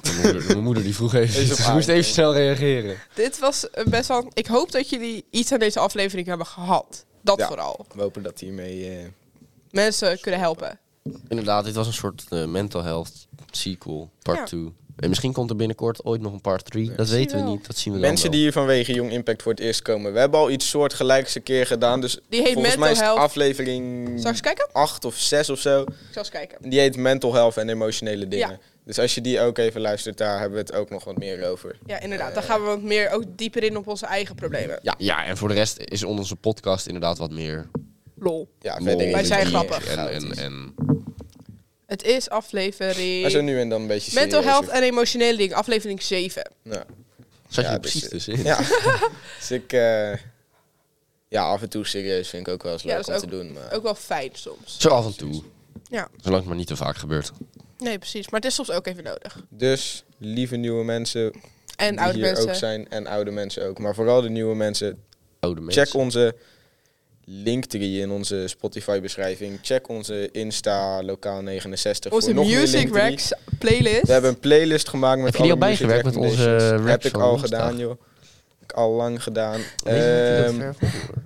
C: Mijn moeder, mijn moeder die vroeg
B: Is
C: even.
B: op
C: Ze moest
B: aarde.
C: even snel reageren.
A: Dit was eh, best wel... Ik hoop dat jullie iets aan deze aflevering hebben gehad. Dat
B: Ja.
A: vooral.
B: We hopen dat hiermee. eh,
A: Mensen kunnen helpen.
C: Inderdaad, dit was een soort eh, mental health sequel,
A: Ja.
C: part 2. En misschien komt er binnenkort ooit nog een part 3. Dat
A: Misschien
C: weten we
A: wel.
C: niet, dat zien we dan
B: mensen
C: wel.
B: die hier vanwege Jong Impact voor het eerst komen. We hebben al iets soortgelijks een keer gedaan. Dus
A: Die heet
B: volgens
A: Mental
B: mij is het
A: Health.
B: aflevering
A: Zal ik eens kijken?
B: 8 of 6 of zo.
A: Ik zal eens kijken.
B: Die heet Mental Health en Emotionele Dingen.
A: Ja.
B: Dus als je die ook even luistert, daar hebben we het ook nog wat meer over.
A: Ja, inderdaad. Dan gaan we wat meer ook dieper in op onze eigen problemen.
C: Ja, ja, en voor de rest is onze podcast inderdaad wat meer...
A: Lol.
B: Ja,
C: lol,
B: verder
A: Wij zijn
C: en-
A: grappig.
C: En, en, en,
A: Het is aflevering...
B: Maar zo nu en dan een beetje
A: Mental
B: serieuzer.
A: health en emotionele dingen, aflevering 7.
B: Nou,
C: zat je
B: Ja,
C: er precies
B: dus,
C: tussenin?
B: ja. dus ik... eh, ja, af en toe serieus vind ik ook wel eens
A: Ja,
B: leuk
A: dat
B: om
A: is
B: te doen. Maar
A: Ook wel fijn soms.
C: Zo af en toe.
A: Ja,
C: Zolang het maar niet te vaak gebeurt.
A: nee, precies. Maar het is soms ook even nodig.
B: Dus, lieve nieuwe mensen
A: En
B: die
A: oude
B: hier
A: mensen.
B: ook zijn en oude mensen ook. Maar vooral de nieuwe mensen.
C: Oude mensen.
B: Check onze linktree in onze Spotify-beschrijving. Check onze Insta Lokaal 69
A: Onze
B: voor nog meer
A: Music
B: linktree.
A: Racks playlist.
B: We hebben een playlist gemaakt met
C: Heb je die
B: alle
C: al
B: music
C: bijgewerkt met onze
B: recommendations. Heb
C: raps
B: ik
C: van
B: al
C: woensdag?
B: gedaan, joh. Heb ik al lang gedaan. Ehm,
C: Ehm,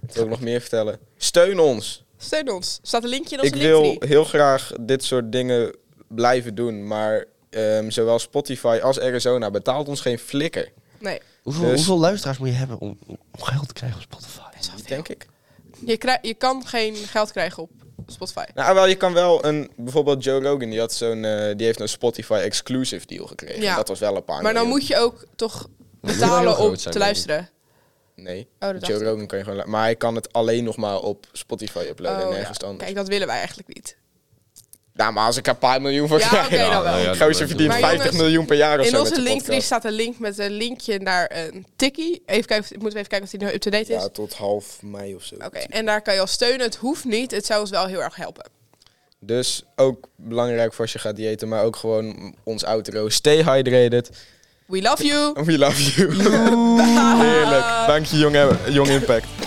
B: Wat wil ik nog meer vertellen? Steun ons.
A: Steun ons. Staat een linkje in onze
B: Ik wil
A: linktree.
B: heel graag dit soort dingen blijven doen, maar ehm, zowel Spotify als Arizona betaalt ons geen flikker.
A: Nee.
C: hoeveel,
B: dus-
C: hoeveel luisteraars moet je hebben om, om geld te krijgen op Spotify?
B: Denk ik.
A: Je, krij- je kan geen geld krijgen op Spotify.
B: Nou, wel, je kan wel een... Bijvoorbeeld Joe Rogan, die, had zo'n, eh, die heeft een Spotify-exclusive deal gekregen.
A: Ja.
B: Dat was wel een paar
A: maar dan
B: miljoen.
A: moet je ook toch
C: heel
A: betalen
C: groot
A: om
C: zijn,
A: te
C: denk
A: luisteren.
B: Nee,
A: Oh, dat dacht
B: Joe
A: ik.
B: Rogan kan je gewoon... lu- Maar hij kan het alleen nog maar op Spotify uploaden en
A: Oh,
B: nergens
A: ja.
B: anders.
A: Kijk, dat willen wij eigenlijk niet.
B: Nou, maar als ik er een paar miljoen voor
A: Ja,
B: krijg...
A: oké, dan wel.
C: ja,
B: Gozer
C: dat-
B: verdient
A: Maar
B: 50
A: jongens,
B: miljoen per jaar of
A: In
B: zo met
A: onze
B: de
A: linktree
B: podcast.
A: staat een link met een linkje naar een tikkie. Even kijken, of- moeten we even kijken of die nou up-to-date is.
B: Ja, tot half mei of zo.
A: Oké, en daar kan je al steunen. Het hoeft niet. Het zou ons wel heel erg helpen.
B: Dus ook belangrijk voor als je gaat diëten, maar ook gewoon ons outro. Stay hydrated.
A: We love you.
B: We love you. Heerlijk. Dank je, jong, jong Impact.